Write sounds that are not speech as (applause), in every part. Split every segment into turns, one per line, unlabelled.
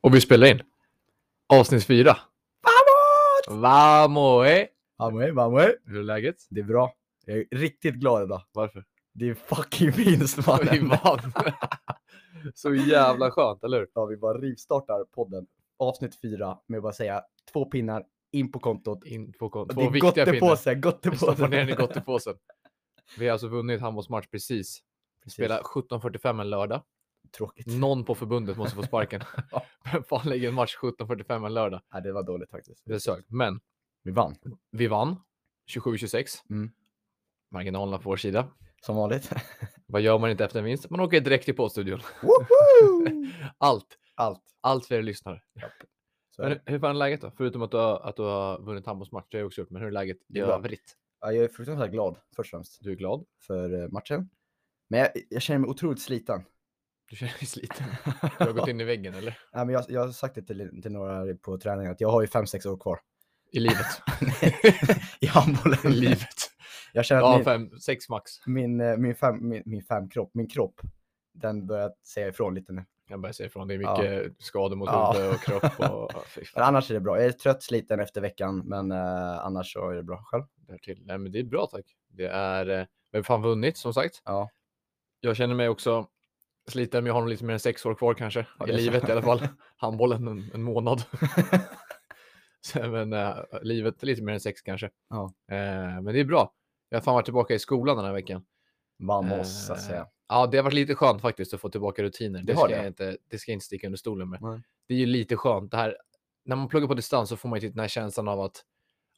Och vi spelar in. Avsnitt fyra. Vamos! Vamos! Eh?
Amue, amue.
Hur är läget?
Det är bra. Jag är riktigt glad idag.
(laughs) Varför?
Det är
(laughs)
fucking vinst
Vi
mannen.
vann. Så jävla skönt, eller hur?
Ja, vi bara rivstartar podden. Avsnitt fyra med att bara säga två pinnar in på kontot.
In på kon-
Och
Två
det är
viktiga pinnar.
gottepåse, gottepåse.
Stoppa ner den i
(laughs)
gottepåsen. Vi har alltså vunnit handbollsmatch precis. Vi spelar 17.45 en lördag.
Tråkigt.
Någon på förbundet måste få
(laughs)
sparken. (laughs) Vem fan lägger en match 17.45 en lördag?
Nej, det var dåligt faktiskt.
Det är sökt. Men
Vi vann.
vi vann 27-26.
Mm.
Marginalerna på vår sida. (laughs)
Som vanligt.
Vad gör man inte efter en vinst? Man åker direkt till poddstudion. (laughs)
Woho!
Allt.
Allt.
Allt fler lyssnare.
Så
Men
är det.
hur- hur fan är läget då? Förutom att du har, att du har vunnit handbollsmatch, det har jag också gjort, men hur är läget i
Det är bra.
övrigt?
Ja, jag är fruktansvärt glad först och främst
Du är glad,
för eh, matchen. Men jag, jag känner mig otroligt sliten.
du känner dig sliten. (laughs) Du
(laughs)
har gått in i väggen eller?
Nej, men jag, jag har sagt det till, till några på träningen att jag har ju 5-6 år kvar
I livet.
i handbollen.
(laughs) I livet.
Jag känner att
Ja,
min,
fem, sex max.
min, eh, min, fem, min, min femkropp, min kropp, den börjar säga ifrån lite nu.
Jag börjar säga ifrån, det är
Ja.
mycket skador mot
Ja.
huvud och kropp (laughs) och ja, fy
Men
fan,
annars är det bra. Jag är trött, sliten efter veckan, men eh, annars så är det bra. Själv?
därtill. Nej, men det är bra tack. Det är, eh, vi har fan vunnit som sagt.
Ja.
Jag känner mig också sliten, men jag har nog lite mer än sex år kvar kanske. I
Ja, det är så.
livet i alla (laughs) fall. Handbollen en, en månad. (laughs) Så, men eh, livet lite mer än sex kanske.
Ja.
Eh, men det är bra. Jag har fan varit tillbaka i skolan den här veckan.
(laughs) Vamos, så att
Eh,
säga.
Ja, det har varit lite skönt faktiskt att få tillbaka rutiner. Det,
Det har
ska,
det.
Jag inte, det ska jag inte sticka under stolen med.
Nej.
Det är ju lite skönt. Det här, när man pluggar på distans så får man ju typ den här känslan av att,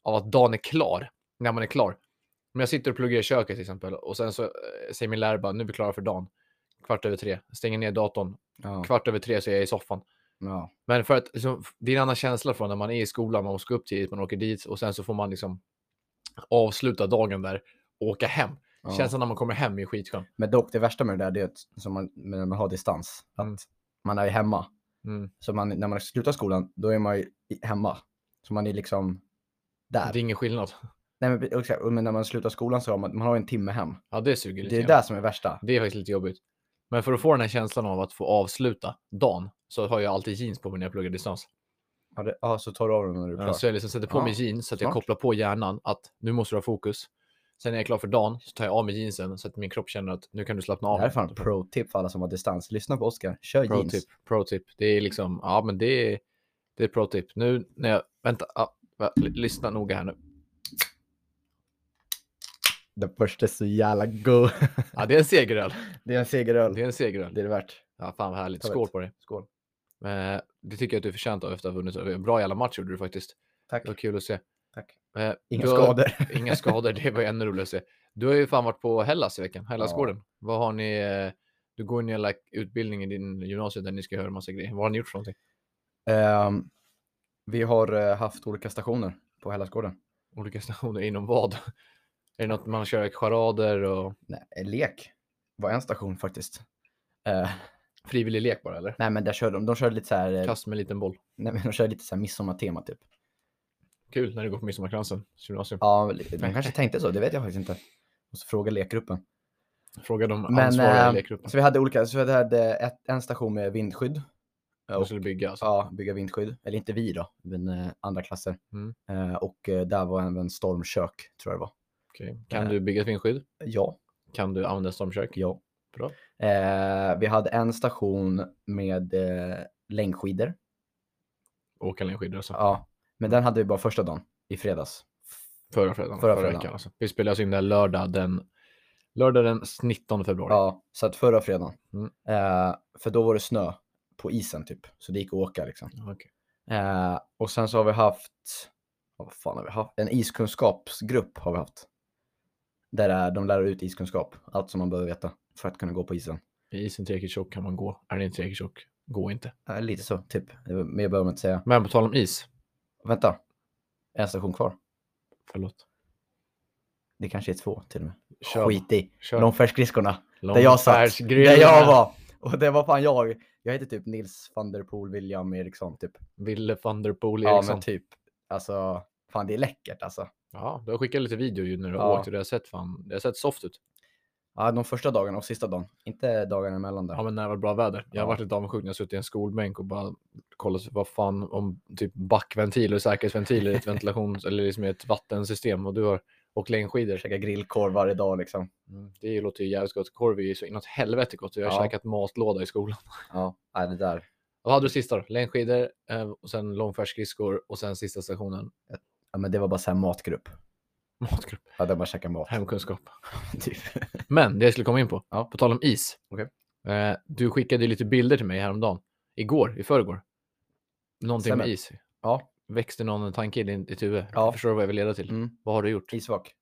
av att dagen är klar. När man är klar. Om jag sitter och pluggar i köket till exempel och sen så eh, säger min lärare bara nu är vi klara för dagen. Kvart över tre. Stänger ner datorn.
Ja.
Kvart över tre så är jag i soffan.
Ja.
Men för att liksom, det är en annan känsla från när man är i skolan, man ska upp tidigt, man åker dit och sen så får man liksom avsluta dagen där och åka hem.
Ja.
Känslan när man kommer hem är skitskön.
Men dock, det värsta med det där det är att som man, när man har distans, att
Mm.
man är ju hemma.
Mm.
Så man, när man slutar skolan, då är man ju i- hemma. Så man är liksom där.
Det är ingen skillnad.
Nej, men, exakt. men när man slutar skolan så har man, man har ju en timme hem.
Ja, det suger lite.
Det är
grann.
det som är värsta.
det är faktiskt lite jobbigt. Men för att få den här känslan av att få avsluta dagen så har jag alltid jeans på mig när jag pluggar distans.
Ja, det, ja, så tar du av dem när du är klar.
Så jag liksom sätter på
Ja,
mig jeans så att jag
smart.
kopplar på hjärnan att nu måste du ha fokus. Sen när jag är klar för dagen så tar jag av mig jeansen så att min kropp känner att nu kan du slappna
Det
av.
här är fan pro-tip för alla som har distans. Lyssna på Oskar. Kör
Pro
jeans.
tip, pro tip. Det är liksom, ja men det är, det är pro tip. Nu när jag, vänta, ja, va, l- lyssna noga här nu.
Den första är så jävla god.
Ja, det är en segeröl.
(laughs) Det är en segeröl.
Det är en segeröl.
Det är det värt.
Ja, fan vad härligt.
Jag vet.
Skål på dig.
Skål.
Eh, det tycker jag att du är förtjänt av efter att ha vunnit. över. Bra jävla match gjorde du faktiskt.
Tack.
Det var kul att se.
Tack.
Eh,
Inga
du har-
skador. (laughs)
Inga skador, (laughs) det var ju ännu roligare att se. Du har ju fan varit på Hellas i veckan, Hellasgården. Vad har ni, eh, du går ju en jävla utbildning i din gymnasium där ni ska göra en massa grejer. Vad har ni gjort för någonting?
Ehm, vi har eh, haft olika stationer på Hellasgården.
Olika (laughs) stationer inom vad? Är det något man kör charader och
Nej, en lek var en station faktiskt. Eh,
frivillig lek bara eller?
nej, men där körde de, de körde lite så här, eh,
Kast med en liten boll.
nej, men de körde lite så här midsommartema typ.
Kul när du går på Midsommarkransen gymnasium.
Ja, de kanske tänkte så, det vet jag faktiskt inte. Måste fråga lekgruppen.
Fråga de
Men,
ansvariga
eh,
i lekgruppen.
Så vi hade olika, så vi hade ett, en station med vindskydd.
De skulle bygga alltså.
Ja, bygga vindskydd. Eller inte vi då, men eh, andra klasser.
Mm.
Eh, och eh, där var även stormkök, tror jag det var.
Okej. Kan
eh.
du bygga ett vindskydd?
Ja,
Kan du använda stormkök?
ja.
Bra.
Eh, vi hade en station med eh, längdskidor.
Åka längdskidor alltså.
Ja, men den hade vi bara första dagen, i fredags.
Förra fredagen.
Förra
Förra,
fredagen.
veckan alltså. Vi spelade alltså in det här lördag den, lördag den 19 februari.
Ja, så att förra fredagen.
Mm.
Eh, för då var det snö på isen typ, så det gick att åka liksom.
Okej.
Eh, och sen så har vi haft, ja, vad fan har vi haft? En iskunskapsgrupp har vi haft. Där är, de lär ut iskunskap, allt som man behöver veta för att kunna gå på isen.
Är isen tillräckligt tjock kan man gå. Är den inte tillräckligt tjock, gå inte.
Eh, lite så, typ. Det var- Mer behöver man inte säga.
Men på tal om is,
Vänta, en station kvar.
förlåt.
Det kanske är två till och med.
Kör.
Skit i.
Kör.
Långfärdsskridskorna,
Lång
där jag satt.
färsgrilla.
Där jag var. Och det var fan jag. Jag heter typ Nils van der Poel William Eriksson typ.
Ville van der Poel
Ja
Eriksson.
men typ. Alltså, fan det är läckert alltså.
Ja, du har skickat lite video ju när du har
Ja.
åkt och det har sett fan, det har sett soft ut.
Ja, de första dagarna och sista dagen. Inte dagarna emellan där.
Ja, men när det var bra väder. Jag har
Ja.
varit lite avundsjuk när jag suttit i en skolbänk och bara kollat vad fan om typ backventiler och säkerhetsventiler i
(laughs)
ett ventilations eller liksom i ett vattensystem och du har åkt längdskidor.
Käka grillkorv varje dag liksom.
Mm, Det låter ju jävligt gott. Korv är ju så inåt helvete gott. Jag har
Ja.
käkat matlåda i skolan.
Ja, nej, det där.
Vad hade du sista då? Längdskidor eh, och sen långfärdsskridskor och sen sista stationen
Ja, men det var bara så här matgrupp.
matgrupp,
Ja, där man käkar mat.
hemkunskap.
(laughs) typ.
Men det jag skulle komma in på, på tal om is.
Okej.
Eh, du skickade ju lite bilder till mig häromdagen. Igår, i förrgår. Någonting med
Stämmer.
is.
Ja,
Växte någon tanke i din- ditt huvud?
Ja.
Förstår du vad jag vill leda till?
mm.
Vad har du gjort?
isvak.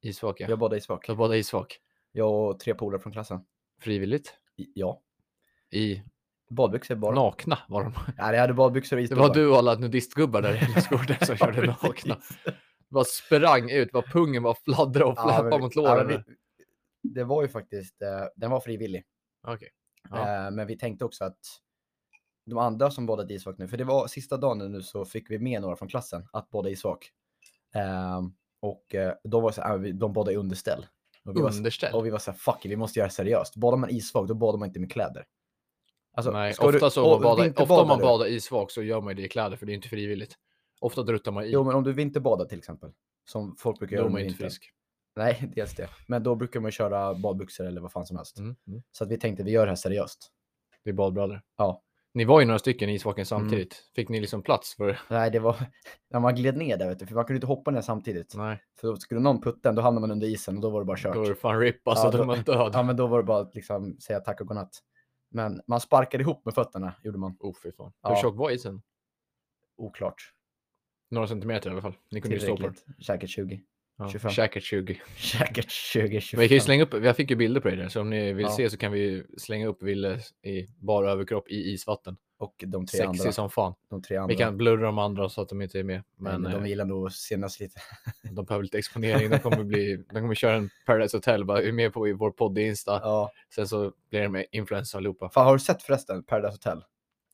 Isvak, ja.
Jag badade isvak.
Du har badat isvak.
Jag och tre polare från klassen.
Frivilligt.
I- Ja.
I
Badbyxor bara.
nakna var de.
Nej, jag hade badbyxor och
Det
isdoppar.
var du och alla nudistgubbar där i
(laughs)
Hällsgården som
Ja,
körde
precis.
nakna. Bara sprang ut, bara pungen bara fladdrade och
Ja, men
fläpade
vi-
mot
ja,
låren.
men vi- Det var ju faktiskt, eh, den var frivillig.
Okej. Ja.
Eh, Men vi tänkte också att de andra som badade isvak nu, för det var sista dagen nu så fick vi med några från klassen att bada isvak. Ehm, Och eh, de var så här, "Ah, vi- de badade i underställ. Och vi var, så-
Underställ.
och vi var så här, fuck it, vi måste göra det seriöst. Badar man isvak, då badar man inte med kläder. Alltså,
Nej,
ska
ofta,
du-
så om man
och
badar, ofta
vinterbadar
om man
du-
badar isvak så gör man ju det i kläder för det är inte frivilligt. Ofta druttar man i.
Jo, men om du vinterbadar till exempel, som folk brukar
då
göra
är man
under
ju inte
vintern.
frisk.
Nej, (laughs) dels det. Men då brukar man köra badbyxor eller vad fan som helst.
Mm. Mm.
Så att vi tänkte, vi gör det här seriöst.
Det är badbrallor.
Ja.
Ni var ju några stycken i isvaken
Mm.
samtidigt. Fick ni liksom plats för?
Nej, det var (laughs) när man gled ner där, vet du, för man kunde inte hoppa ner samtidigt.
Nej,
För då skulle någon putta en, då hamnade man under isen och då var det bara kört.
Mm. då är det fan rip alltså.
Ja,
då är
då-
man död.
Ja, men då var det bara att liksom säga tack och godnatt. Men man sparkade ihop med fötterna, gjorde man.
Oh, fy fan.
Ja.
Hur tjock var isen?
Oklart.
Några centimeter i alla fall. Ni kunde ju stå på den.
Tillräckligt. Säkert 20.
Ja.
25.
Säkert 20.
(laughs) Säkert 20, 25.
Men vi kan ju slänga upp, jag fick ju bilder på det där, så om ni vill
Ja.
se så kan vi ju slänga upp Ville i bara överkropp i isvatten.
Och de tre
Sexig
andra.
som fan.
De tre andra.
Vi kan blurra de andra så att de inte är med. Men,
men,
eh,
de gillar nog senast lite. (laughs)
De behöver lite exponering. De kommer, bli, de kommer köra en Paradise Hotel, bara är med på i vår podd i Insta.
Ja.
Sen så blir de med influencers allihopa.
Fan, har du sett förresten Paradise Hotel? Att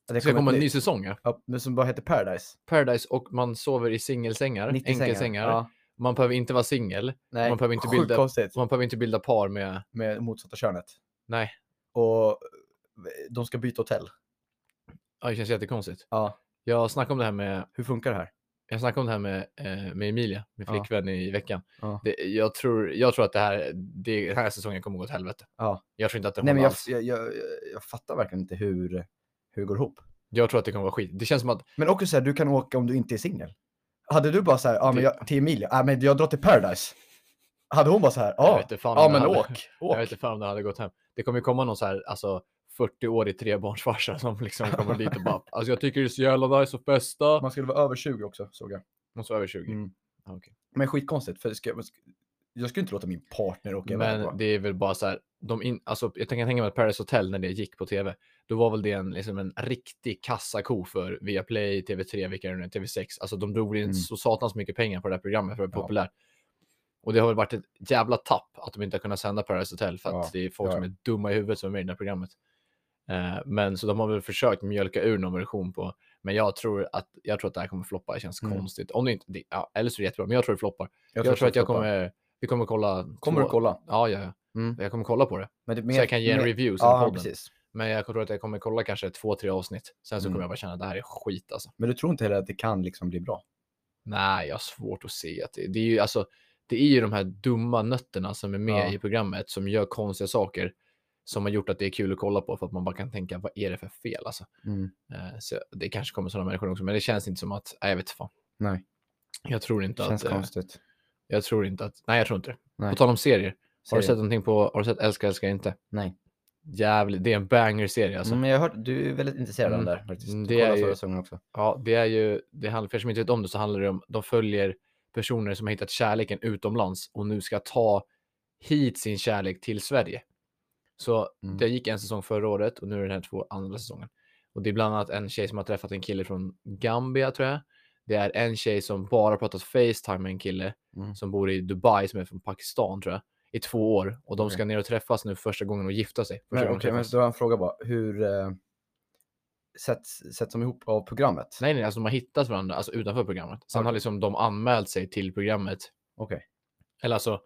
Det
Det ska
kom ett
komma en ny
nytt-
säsong, ja.
Ja, men som bara heter Paradise.
Paradise och man sover i singelsängar,
90-sängar.
enkelsängar.
Ja,
Man behöver inte vara singel.
nej,
Man behöver inte
sjukt
bilda-
konstigt
och Man behöver inte bilda par med...
med motsatta könet.
Nej,
Och eh, de ska byta hotell.
ja, det känns jättekonstigt.
Ja.
Jag snackade om det här med,
Hur funkar det här?
jag snackade om det här med, eh, med Emilia, min
Ja.
flickvän, i veckan.
Ja.
Det, jag, tror, jag tror att det här, det, den här säsongen kommer gå åt helvete.
Ja.
Jag tror inte att det håller
Nej, men jag,
alls. Jag...
jag, jag, jag fattar verkligen inte hur, hur det går ihop.
tror att det kommer vara skit. Det känns som att,
Men också så här, du kan åka om du inte är singel. Hade du bara så här, ja men
Det-
jag, till Emilia, ja men jag drar till Paradise. Hade hon bara så här,
jag
ja,
vet inte fan
ja
om det
men
hade-
åk,
(laughs) Jag
åk.
vet inte fan om det hade gått hem. Det kommer ju komma någon så här, alltså 40-årig trebarnsfarsa som liksom kommer dit och bara,
(laughs)
alltså jag tycker det är så jävla nice och festa.
Man skulle vara över 20 också såg jag.
Hon så över 20.
Mm.
Ja, okej.
Men skitkonstigt, för ska, jag- jag skulle inte låta min partner åka iväg.
Men
bara.
det är väl bara så här, de in, alltså jag kan tänka mig att Paradise Hotel när det gick på tv, då var väl det en, liksom en riktig kassako för Viaplay, TV3, vilka det nu är, TV6. Alltså de drog in
Mm.
så satans mycket pengar på det här programmet för att det var
Ja.
populärt. Och det har väl varit ett jävla tapp att de inte har kunnat sända Paradise Hotel för att
Ja,
det är folk
ja,
som är dumma i huvudet som är med i det här programmet. Eh, men så de har väl försökt mjölka ur någon version på, men jag tror att, jag tror att det här kommer floppa, det känns
Mm.
konstigt. Om det inte, det, ja, eller så är det jättebra, men jag tror det floppar. Jag, tror
det
att jag
floppar.
kommer, vi kommer kolla
Kommer du
två-
kolla?
Ja, ja, ja.
Mm.
jag kommer kolla på det.
Men det,
så jag kan ge en review sen
Ja,
podden.
precis.
Men jag tror att jag kommer kolla kanske två, tre avsnitt. Sen så
Mm.
kommer jag bara känna att det här är skit alltså.
Men du tror inte heller att det kan liksom bli bra?
Nej, jag har svårt att se att det, det är ju alltså. Det är ju de här dumma nötterna som är med
Ja.
i programmet som gör konstiga saker som har gjort att det är kul att kolla på för att man bara kan tänka vad är det för fel alltså.
Mm.
Eh, Så det kanske kommer sådana människor också, men det känns inte som att, nej jag vet fan.
Nej.
Jag tror inte
Känns
att, eh,
konstigt.
jag tror inte att, nej jag tror inte det.
Nej.
På tal om serier, har du
Serier.
sett någonting på, har du sett Älskar, älskar inte?
Nej.
Jävligt, det är en banger-serie alltså.
Mm, Men jag har hört, du är väldigt intresserad av
Mm.
den där faktiskt.
Mm,
Du
det är
kollade
ju-
förra säsongen också.
Ja, det är ju, det handlar, för er som inte vet om det så handlar det om, de följer personer som har hittat kärleken utomlands och nu ska ta hit sin kärlek till Sverige. Så
Mm.
det gick en säsong förra året och nu är det den här två andra säsongen. Och det är bland annat en tjej som har träffat en kille från Gambia tror jag. Det är en tjej som bara pratat Facetime med en kille
Mm.
som bor i Dubai som är från Pakistan tror jag i två år och de
Okej.
ska ner och träffas nu första gången och gifta sig. Första
Men okej,
gången de
men
träffas.
då har jag en fråga bara. Hur eh, sätts, sätts de ihop av programmet?
Nej, nej, alltså de har hittat varandra alltså utanför programmet. Sen har
Okej.
liksom de anmält sig till programmet.
Okej.
Eller alltså,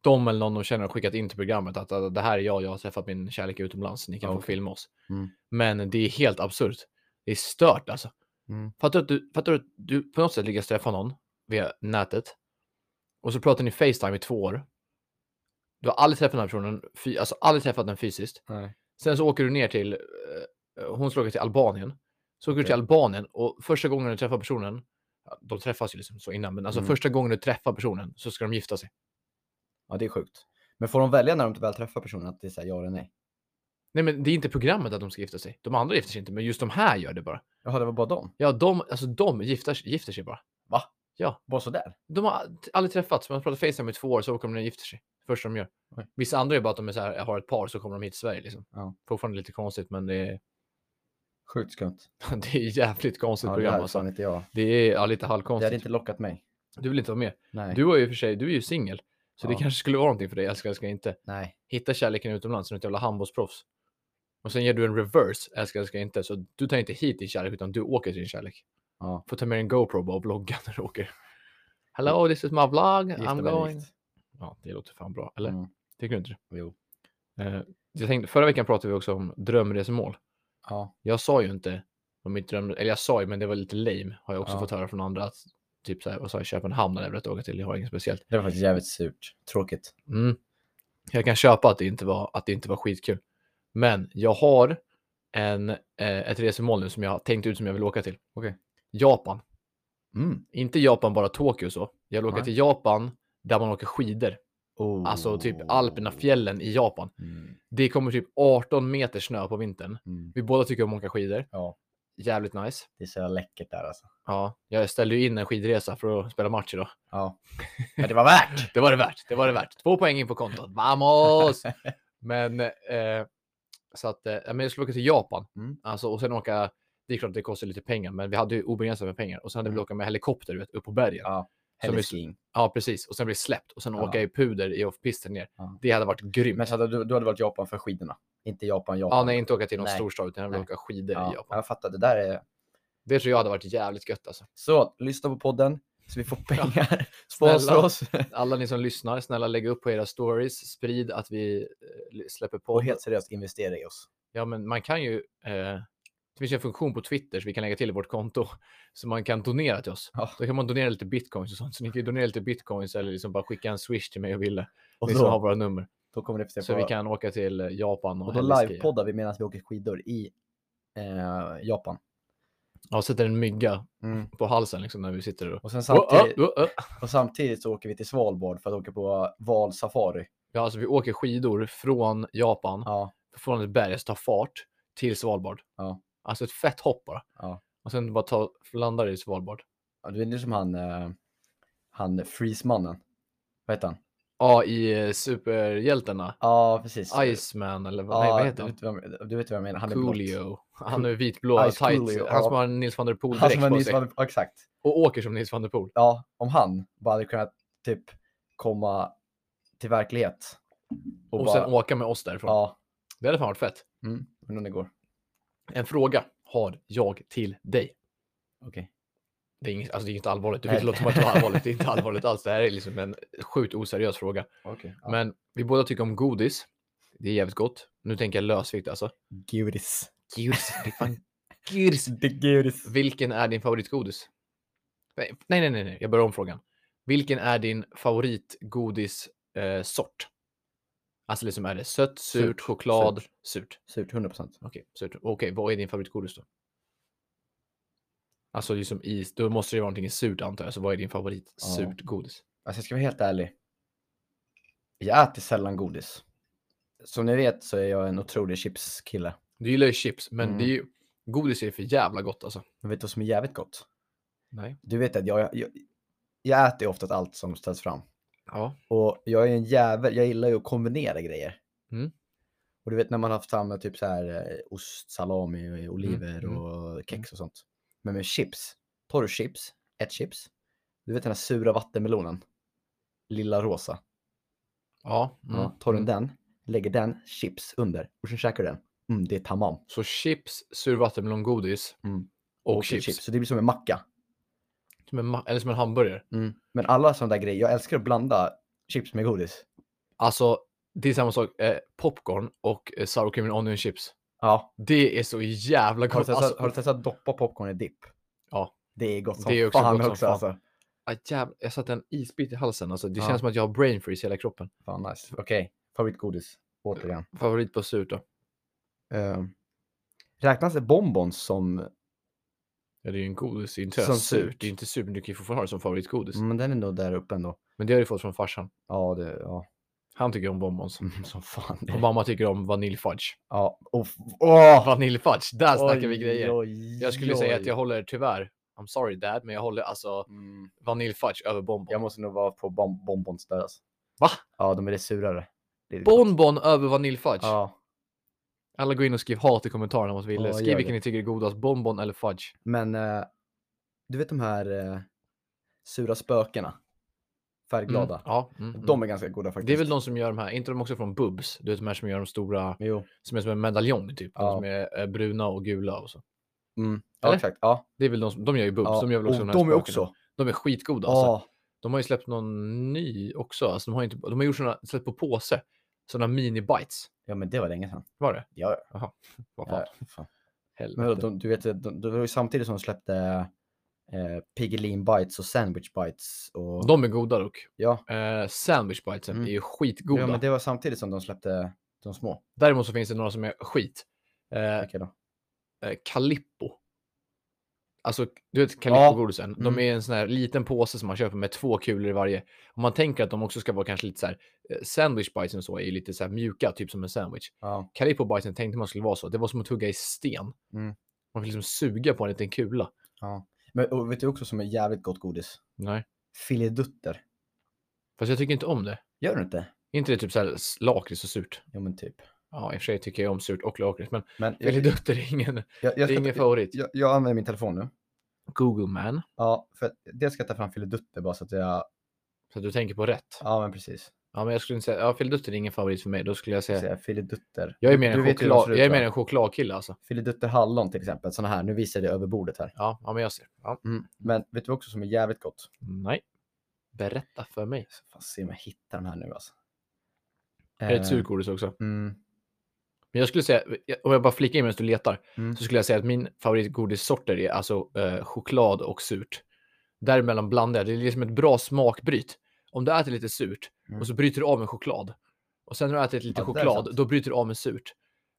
de eller någon de känner har skickat in till programmet att "Alltså, "Ah, det här är jag, jag har träffat min kärlek utomlands, ni kan
Ja,
få
okej.
filma oss.
Mm.
Men det är helt absurt. Det är stört alltså.
Mm.
Fattar du att du, fattar du, att du på något sätt lyckas träffa någon via nätet och så pratar ni Facetime i två år. Du har aldrig träffat den här personen, fy, alltså aldrig träffat den fysiskt.
Nej.
Sen så åker du ner till, eh, hon skulle åka till Albanien. Så åker du till
Okej.
Albanien och första gången du träffar personen, ja, de träffas ju liksom så innan, men alltså
Mm.
första gången du träffar personen så ska de gifta sig.
Ja, det är sjukt. Men får de välja när de väl träffar personen att det är så här, ja eller nej?
Nej men det är inte programmet att de ska gifta sig. De andra gifter sig inte, men just de här gör det bara.
Jaha, det var bara dem?
Ja, de, alltså de gifter, gifter sig bara.
Bara sådär?
De har aldrig träffats, man pratar Facetime i två år så åker de ner och gifter sig. Första de gör.
Oj.
Vissa andra är bara att de är så här, har ett par så kommer de hit till Sverige liksom.
Ja.
Fortfarande lite konstigt men det är, (laughs)
Sjukt skumt.
det är jävligt konstigt
Ja, det
program
här är
alltså.
fan inte jag.
Det är ja, lite
Det
halvkonstigt.
hade inte lockat mig.
Du vill inte vara med.
Nej.
Du är ju för sig, du är ju singel. Så det
Ja.
kanske skulle vara någonting för dig, älskar, älskar inte.
Nej.
Hitta kärleken utomlands, som ett jävla handbollsproffs. Och sen ger du en reverse, älskar, älskar inte. Så du tar inte hit din kärlek, utan du åker till din kärlek.
Ja.
Får ta med en GoPro bara och vlogga (laughs) när du åker. Hello, this is my vlog,
Gifta
I'm
mig
going.
rikt.
Ja, det låter fan bra, eller?
Mm.
Tycker du inte det?
Jo.
Eh, jag tänkte, förra veckan pratade vi också om drömresmål.
Ja.
Jag sa ju inte om mitt dröm, eller jag sa ju, men det var lite lame. Har jag också
Ja.
fått höra från andra att typ så här, vad sa jag, Köpenhamn hade jag velat åka till, jag har inget speciellt.
Det var faktiskt jävligt surt. Tråkigt.
Mm. Jag kan köpa att det inte var, att det inte var skitkul. Men jag har en, eh, ett resmål nu som jag har tänkt ut som jag vill åka till.
Okej.
Japan.
Mm.
Inte Japan, bara Tokyo och så. Jag vill åka
Nej.
till Japan där man åker skidor.
Oh.
Alltså typ Alperna, fjällen i Japan.
Mm.
Det kommer typ 18 meter snö på vintern.
Mm.
Vi båda tycker om att åka skidor.
Ja,
Jävligt nice.
det är så jävla läckert där alltså.
Ja, jag ställde ju in en skidresa för att spela match idag.
(laughs) Ja. Men det var värt!
Det var det värt. Det var det värt. Två poäng in på kontot.
(laughs)
Vamos! Men eh, så att eh, ja, men jag skulle åka till Japan
Mm.
alltså, och sen åka. Det är klart att det kostar lite pengar, men vi hade ju obegränsat med pengar och sen hade vi
Mm.
åka med helikopter du vet, upp på bergen. Ja.
Ja.
Som är-
Hellesking.
precis. Och sen bli släppt och sen
Ja.
åka i puder i off-pisten ner.
Ja.
Det hade varit grymt.
Men så hade du, du hade varit Japan för skidorna. Inte Japan, Japan.
ja, nej, inte åka till någon
Nej.
storstad utan jag vill
Nej.
åka skidor i
ja.
Japan.
Jag fattar, det där är
Det tror jag hade varit jävligt gött alltså.
Så, lyssna på podden
(laughs)
så vi får pengar.
Snälla.
Sponsra oss.
Alla ni som lyssnar, snälla lägg upp på era stories, sprid att vi eh, släpper på.
Och helt seriöst, investera i oss.
Ja, men man kan ju. Eh, det finns ju en funktion på Twitter så vi kan lägga till i vårt konto (laughs) så man kan donera till oss.
Ja.
Då kan man donera lite bitcoins och sånt. Så ni kan ju donera lite bitcoins eller liksom bara skicka en swish till mig och Wille.
Och
Ni som har
då,
våra nummer.
då kommer ni få se
Så
på...
vi kan åka till eh, Japan och,
och då
Helleskeia.
livepoddar vi medan vi åker skidor i eh, Japan.
Ja, sätter en mygga på halsen liksom när vi sitter och...
Och, sen samtidigt,
Samtidigt... Oh, oh, oh.
och samtidigt så åker vi till Svalbard för att åka på valsafari.
Ja, alltså vi åker skidor från Japan,
Ja.
från ett berg som tar fart, till Svalbard.
Ja.
Alltså ett fett hopp bara.
Ja.
Och sen bara ta, landar i Svalbard.
Ja, Du är nu som han, eh, han Freeze-mannen. Vad heter han?
Ja, i eh, superhjältarna.
Ja, precis.
Iceman eller Ah, vad, nej,
Ja,
vad heter
du,
han?
vet vem- du vet vem jag menar? Han är blott.
Coolio. Han är vitblå,
(laughs) Ice Coolio,
tight. Han som
ja.
har en Nils van der Poel
Han som
direkt
är
på
nyss
sig.
var, ja, exakt.
Och åker som Nils van der Poel.
ja, om han bara hade kunnat typ komma till verklighet.
Och,
bara,
sen åka med oss därifrån.
Ja,
Det hade fan varit fett.
mm, undrar om det går.
En fråga har jag till dig.
Okej.
Det är inget, alltså det är inget allvarligt. Du
Nej.
vet, det låter som att det var allvarligt. Det är inte allvarligt alls. Det här är liksom en sjukt oseriös fråga.
Ja. Men...
Men vi båda tycker om godis. Det är jävligt gott. Nu tänker jag lösvikt alltså.
Gudis.
Godis. Det är (laughs) fan godis.
Det är gudis.
Vilken är din favoritgodis? Nej, nej, nej, nej, nej. Jag börjar om frågan. Vilken är din favoritgodissort? Eh, sort? alltså liksom är det sött, surt,
Surt,
choklad,
surt.
surt? surt.
Surt, 100 procent.
Okej, surt. Okej, vad är din favoritgodis då? Alltså liksom is, då måste det vara någonting surt antar jag. Så vad är din favorit
Ja.
surt godis?
Alltså jag ska vara helt ärlig. Jag äter sällan godis. Som ni vet så är jag en otrolig chipskille.
Du gillar ju chips, men
Mm.
det är ju, godis är ju för jävla gott alltså.
Men vet du vad som är jävligt gott?
Nej.
Du vet att jag, jag, jag, jag äter ju ofta allt som ställs fram.
Ja.
Och jag är en jävel, jag gillar ju att kombinera grejer.
Mm.
Och du vet när man har haft samma typ så här eh, ost, salami, och oliver
mm.
och kex och sånt. Men med chips, tar du chips, ett chips, du vet den här sura vattenmelonen, lilla rosa.
Ja. mm,
Ja, tar du
mm.
den, lägger den, chips under och sen käkar du den. Mm, det är tamam.
Så chips, sur vattenmelongodis
Mm.
och,
ett
chips.
Så det blir som en macka. Mm.
Som en, ma- eller som en hamburgare.
Men alla sådana där grejer, jag älskar att blanda chips med godis.
Alltså, det är samma sak. Eh, popcorn och eh, sour cream and onion chips.
Ja.
Det är så jävla
Har du
gott.
testat,
Alltså,
har du testat doppa popcorn i dipp?
Ja.
Det är gott som
Det är också
fan
gott som
också
fan.
alltså.
aj, jävlar, ah, jag satte en isbit i halsen. Alltså, det
Ja.
känns som att jag har brain freeze i hela kroppen.
Fan nice. Okej, favoritgodis. Återigen.
Favorit på surt då?
Uh,
Ehm,
räknas bonbons som...
Ja, det är ju en godis. Det är inte
Som
som surt.
surt. Mm.
Det är inte surt, men du kan ju fortfarande ha det som favoritgodis.
Men den är nog där uppe ändå.
Men det har du fått från farsan.
Ja, det, ja.
Han tycker om bonbons.
Mm, som fan.
Och
Det.
mamma tycker om vaniljfudge.
Ja. Och, f- åh!
Vaniljfudge, där snackar vi
Oj,
grejer.
oj,
Jag skulle säga att
oj.
jag håller tyvärr, I'm sorry dad, men jag håller alltså
Mm,
vaniljfudge över bonbon.
jag måste nog vara på bom- bonbons där alltså.
Va?
Ja, de är det surare. Det är det gott.
Bonbon över vaniljfudge.
Ja,
Alla går in och skriver hat i kommentarerna mot Wille.
Ja,
Skriv
gör
vilken
det.
ni tycker är godast, bonbon eller fudge.
men eh, du vet de här eh, sura spökena? Färgglada.
Mm. Ja. Mm, mm.
De är ganska goda faktiskt.
Det är väl de som gör de här, inte de också från Bubs? Du vet de här som gör de stora,
Jo.
som är som en medaljong typ.
Ja.
De som är eh, bruna och gula och så.
Mm. Ja,
Eller?
exakt. Ja.
Det är väl de som, de gör ju Bubs.
ja.
De gör väl också
Och
här
de är
spökena.
också.
De är skitgoda alltså.
Ja.
De har ju släppt någon ny också. Alltså, de, har ju inte, de har gjort såna, släppt på påse. Sådana mini-bites.
ja, men det var länge sedan.
Var det?
Ja, ja.
Vad fan?
ja. fan. Men vadå,
Helvete.
de, du vet, de, de, det var ju samtidigt som de släppte eh, Piggelin Bites och Sandwich Bites. Och,
De är goda dock.
ja.
Eh, sandwich bitesen
Mm.
är ju skitgoda.
ja, men det var samtidigt som de släppte de små.
Däremot så finns det några som är skit. Eh,
Vilka då?
eh, Calippo. Alltså, du vet Calippo-godisen. De
Mm.
är en sån här liten påse som man köper med två kulor i varje. Om man tänker att de också ska vara kanske lite så här, eh, sandwich bitesen och så är ju lite så här mjuka, typ som en sandwich.
Ja.
Calippo bitesen tänkte man skulle vara så. Det var som att tugga i sten.
Mm.
Man fick liksom suga på en liten kula.
Men och vet du också som är jävligt gott godis?
Nej.
Filedutter.
Fast jag tycker inte om det.
Gör du inte?
Är inte det typ så här s- lakrits och surt?
Jo, men typ.
Ja, i och för sig tycker jag om surt och lakrits, men
Men jag, jag,
Filidutter är ingen,
jag,
det är
ska-
ingen favorit.
jag, jag använder min telefon nu.
Google man.
Ja, för att dels ska jag ta fram filedutter bara så att jag...
Så att du tänker på rätt.
Ja, men precis.
Ja, men jag skulle inte säga, ja, filidutter är ingen favorit för mig. Då skulle jag
Ska jag
säga,
säga Filedutter.
jag är
Du-
mer
du
en,
vet hur de
choklad,
ser ut,
jag är
va?
mer en chokladkille alltså.
Filedutter hallon till exempel, sådana här. Nu visar jag det över bordet här.
Ja, ja men jag ser. Ja.
Men vet du också som är jävligt gott?
Nej. Berätta för mig.
Jag ska fan se om jag hittar den här nu alltså.
Är det
Eh,
ett surgodis också?
Mm,
Men jag skulle säga, om jag bara flikar in medan du letar,
mm.
så skulle jag säga att min favoritgodissorter är alltså eh, choklad och surt. Däremellan blandar jag, det är liksom ett bra smakbryt. Om du äter lite surt
Mm.
och så bryter du av med choklad. Och sen när du ätit lite
Ja, det är
choklad,
sant.
då bryter du av med surt.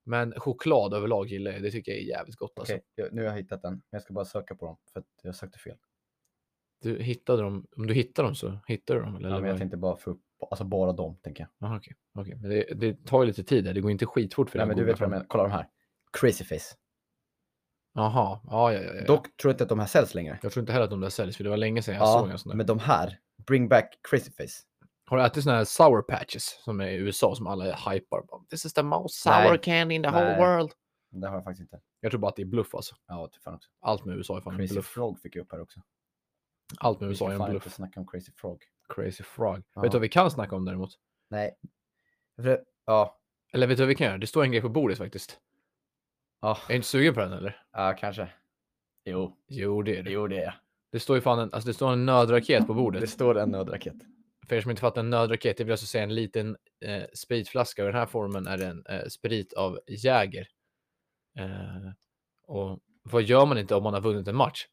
Men choklad överlag gillar jag, det tycker jag är jävligt gott alltså.
Okej, jag- nu har jag hittat den. Men jag ska bara söka på dem för att jag sökte fel.
Du hittade dem, om du hittar dem så hittar du dem? Eller?
Ja, men jag
vad?
tänkte bara få upp, alltså bara dem tänker jag.
Jaha, okej. okej. Men det, det tar ju lite tid, där. det går inte skitfort för
Nej
den
men du
goda
vet vad jag
fram-
menar, kolla de här. Crazy face.
Jaha, ja, ja, ja, ja.
Dock tror jag inte att de här säljs längre.
Jag tror inte heller att de där säljs, för det var länge sedan Eh. jag såg en sån där.
men de här, bring back crazy face.
Har du ätit såna här sour patches som är i USA som alla hypar? Bara, This is the most sour
Nej.
candy in the
Nej.
whole world.
Det har jag faktiskt inte.
Jag tror bara att det är bluff alltså.
Ja, typ fan också.
Allt med USA är fan en
Crazy
bluff.
frog fick jag upp här också.
Allt med
Vi
USA
ska
är en
fan inte
bluff.
snacka om crazy frog.
Crazy frog.
Ja.
Vet du vad vi kan snacka om däremot?
Nej. För, ja,
Eller vet du vad vi kan göra? Det står en grej på bordet faktiskt.
ja,
Är du inte sugen på den eller?
ja, kanske. Jo,
Jo, det är det.
jo det är jag.
Det står ju fan en, alltså det står en nödraket på
Det
bordet.
står en nödraket.
För er som inte fattar en nödraket, det vill alltså säga en liten eh, spritflaska. Och i den här formen är det en eh, sprit av Jäger. Eh, och vad gör man inte om man har vunnit en match?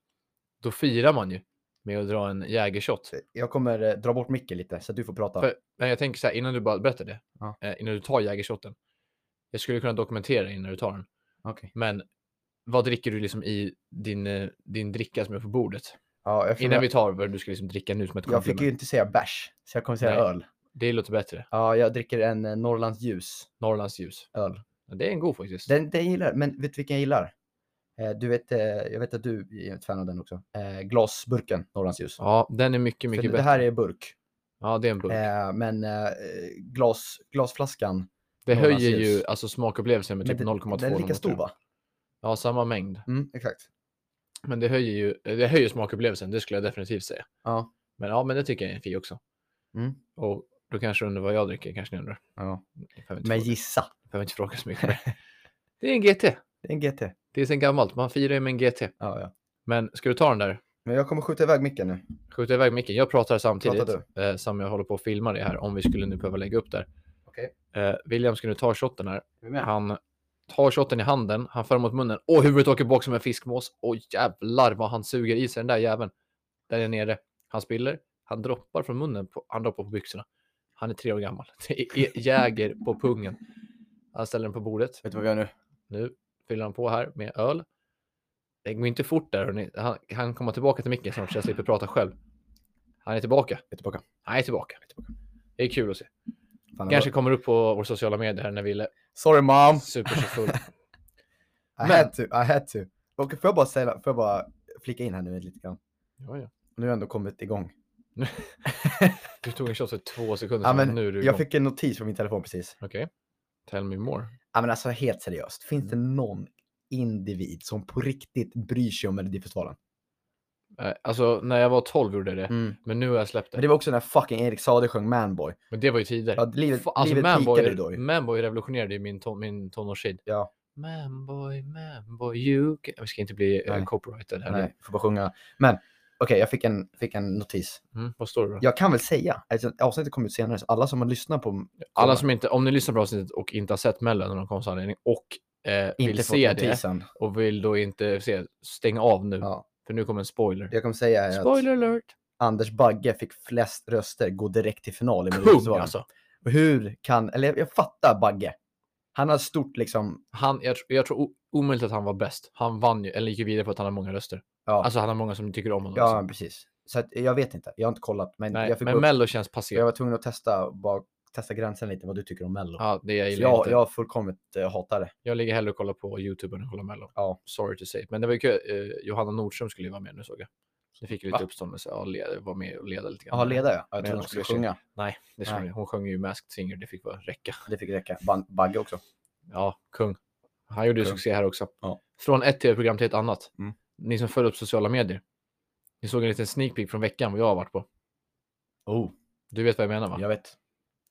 Då firar man ju med att dra en Jägershot.
Jag kommer eh, dra bort micken lite så att du får prata.
För- Men jag tänker så här, innan du bara berättar det,
Ja.
eh, innan du tar Jägershoten. Jag skulle kunna dokumentera innan du tar den.
Okej.
Men vad dricker du liksom i din, eh, din dricka som är på bordet?
Ja, jag, får-
Innan vi tar vad du ska liksom dricka nu som ett
jag fick ju
komplement.
inte säga bärs, så jag kommer säga
Nej.
öl.
Det låter bättre.
Ja, jag dricker en eh, Norrlands ljus
Norrlands ljus.
öl.
Ja, Det är en god faktiskt.
Den, den gillar jag, men vet du vilken jag gillar? Eh, du vet, eh, jag vet att du är ett fan av den också. Eh, glasburken, Norrlands ljus.
Ja, den är mycket,
För
mycket
det
bättre.
här är burk,
Ja, det är en burk.
eh, men eh, glas, glasflaskan.
det
Norrlands
höjer ju
ljus.
alltså smakupplevelsen med
men
typ 0,2.
Den är lika stor
0,3.
va?
Ja, samma mängd.
Mm, exakt.
Men det höjer ju det höjer smakupplevelsen, det skulle jag definitivt säga.
Ja.
Men ja, men det tycker jag är en fi också.
Mm.
Och då kanske du undrar vad jag dricker, kanske ni undrar.
ja.
Jag behöver inte,
Men
fråga.
gissa.
Jag behöver inte fråga så
(laughs)
mycket mer. Det är en GT.
Det är en GT.
Det är sen gammalt, man firar ju med en GT.
Ja, ja.
Men ska du ta den där?
Men jag kommer skjuta iväg micken nu.
Skjuta iväg micken. Jag pratar samtidigt
Pratar
eh, som jag håller på att filma det här, om vi skulle nu behöva lägga upp där.
Okej.
Eh, William ska nu ta shotten här.
Är vi med?
Han tar shotten i handen, han för mot munnen och huvudet åker bak som en fiskmås. Och jävlar vad han suger i sig den där jäveln. Där är nere. Han spiller, han droppar från munnen, på, han droppar på byxorna. Han är tre år gammal. (laughs) Det är Jäger på pungen. Han ställer den på bordet.
Vet du vad vi gör nu?
Nu fyller han på här med öl. Det går inte fort där. hörni. Han, han kommer tillbaka till micken snart så jag slipper prata själv. Han är tillbaka.
Vi är tillbaka.
Han är tillbaka. Det är kul att se.
Fan, det
Kanske
var-
kommer upp på våra sociala medier här när Ville
Sorry mom!
super sig full.
I
Men-
had to, I had to. Och får jag bara, säga, får jag bara flika in här nu lite grann?
Ja, ja.
Nu har jag ändå kommit igång.
Du tog en shot för två sekunder
Ja,
sedan.
men
nu är du igång.
jag fick en notis från min telefon precis.
Okej. Tell me more.
Ja, men alltså helt seriöst, finns det
Mm.
någon individ som på riktigt bryr sig om Melodifestivalen?
Eh, Alltså, när jag var 12 gjorde jag det.
Mm.
Men nu har jag släppt det.
Men det var också när fucking Erik Saade sjöng Manboy.
Men det var ju tider.
Ja, livet,
Fa- alltså,
livet peakade
Manboy,
då ju.
Manboy revolutionerade ju min, ton, min tonårstid.
Ja.
Manboy, Manboy, you can... Vi ska inte bli eh,
Nej.
copyrighted här.
Nej, får bara sjunga. Men okej, jag fick en, fick en notis.
Mm, vad står det då?
Jag kan väl säga, alltså, avsnittet kom ut senare, så alla som har lyssnat på
Alla
kolla.
som inte, om ni lyssnar på avsnittet och inte har sett Mello av någon konstig anledning och eh,
inte
vill
fått
se det Mm.
notisen.
och vill då inte se, stäng av nu.
Ja.
För nu kommer en spoiler.
Jag kommer säga är att
Spoiler alert!
Anders Bagge fick flest röster, gå direkt till final i
Kung
Melodifestivalen.
alltså!
Och Hur kan, eller jag fattar Bagge. Han har stort liksom,
Han, jag, tr- jag tror o- omöjligt att han var bäst. Han vann ju, eller gick ju vidare på att han har många röster.
ja,
Alltså han har många som tycker om honom.
ja
liksom.
precis. Så att, jag vet inte, jag har inte kollat, men
Nej,
jag fick gå
men
upp,
Mello känns
jag
passé.
var tvungen att testa, bara testa gränsen lite vad du tycker om Mello.
Ja, det jag
Så
gillar jag,
jag,
inte.
jag
Jag...
har fullkomligt eh, hatar det.
ligger hellre och kollar på YouTube än att kolla Mello.
Ja.
Sorry to say. Men det var ju kul. Eh, Johanna Nordström skulle ju vara med nu såg jag. Det fick ju lite
Va?
uppståndelse. Ja, led, var med och leda lite grann.
Jaha, leda ja. Jag
Men
trodde
hon
hon skulle
skulle
sjunga.
Nej, det skulle hon
Nej.
ju. Hon sjöng ju Masked Singer. Det fick bara räcka.
Det fick räcka. Ban- Bagge också.
Ja, kung. Han gjorde ju
Kung.
succé här också.
Ja.
Från ett tv-program till ett annat.
Mm.
Ni som följer upp sociala medier. Ni såg en liten sneak peek från veckan vad jag har varit på.
Oh,
Du vet vad jag menar va?
jag vet.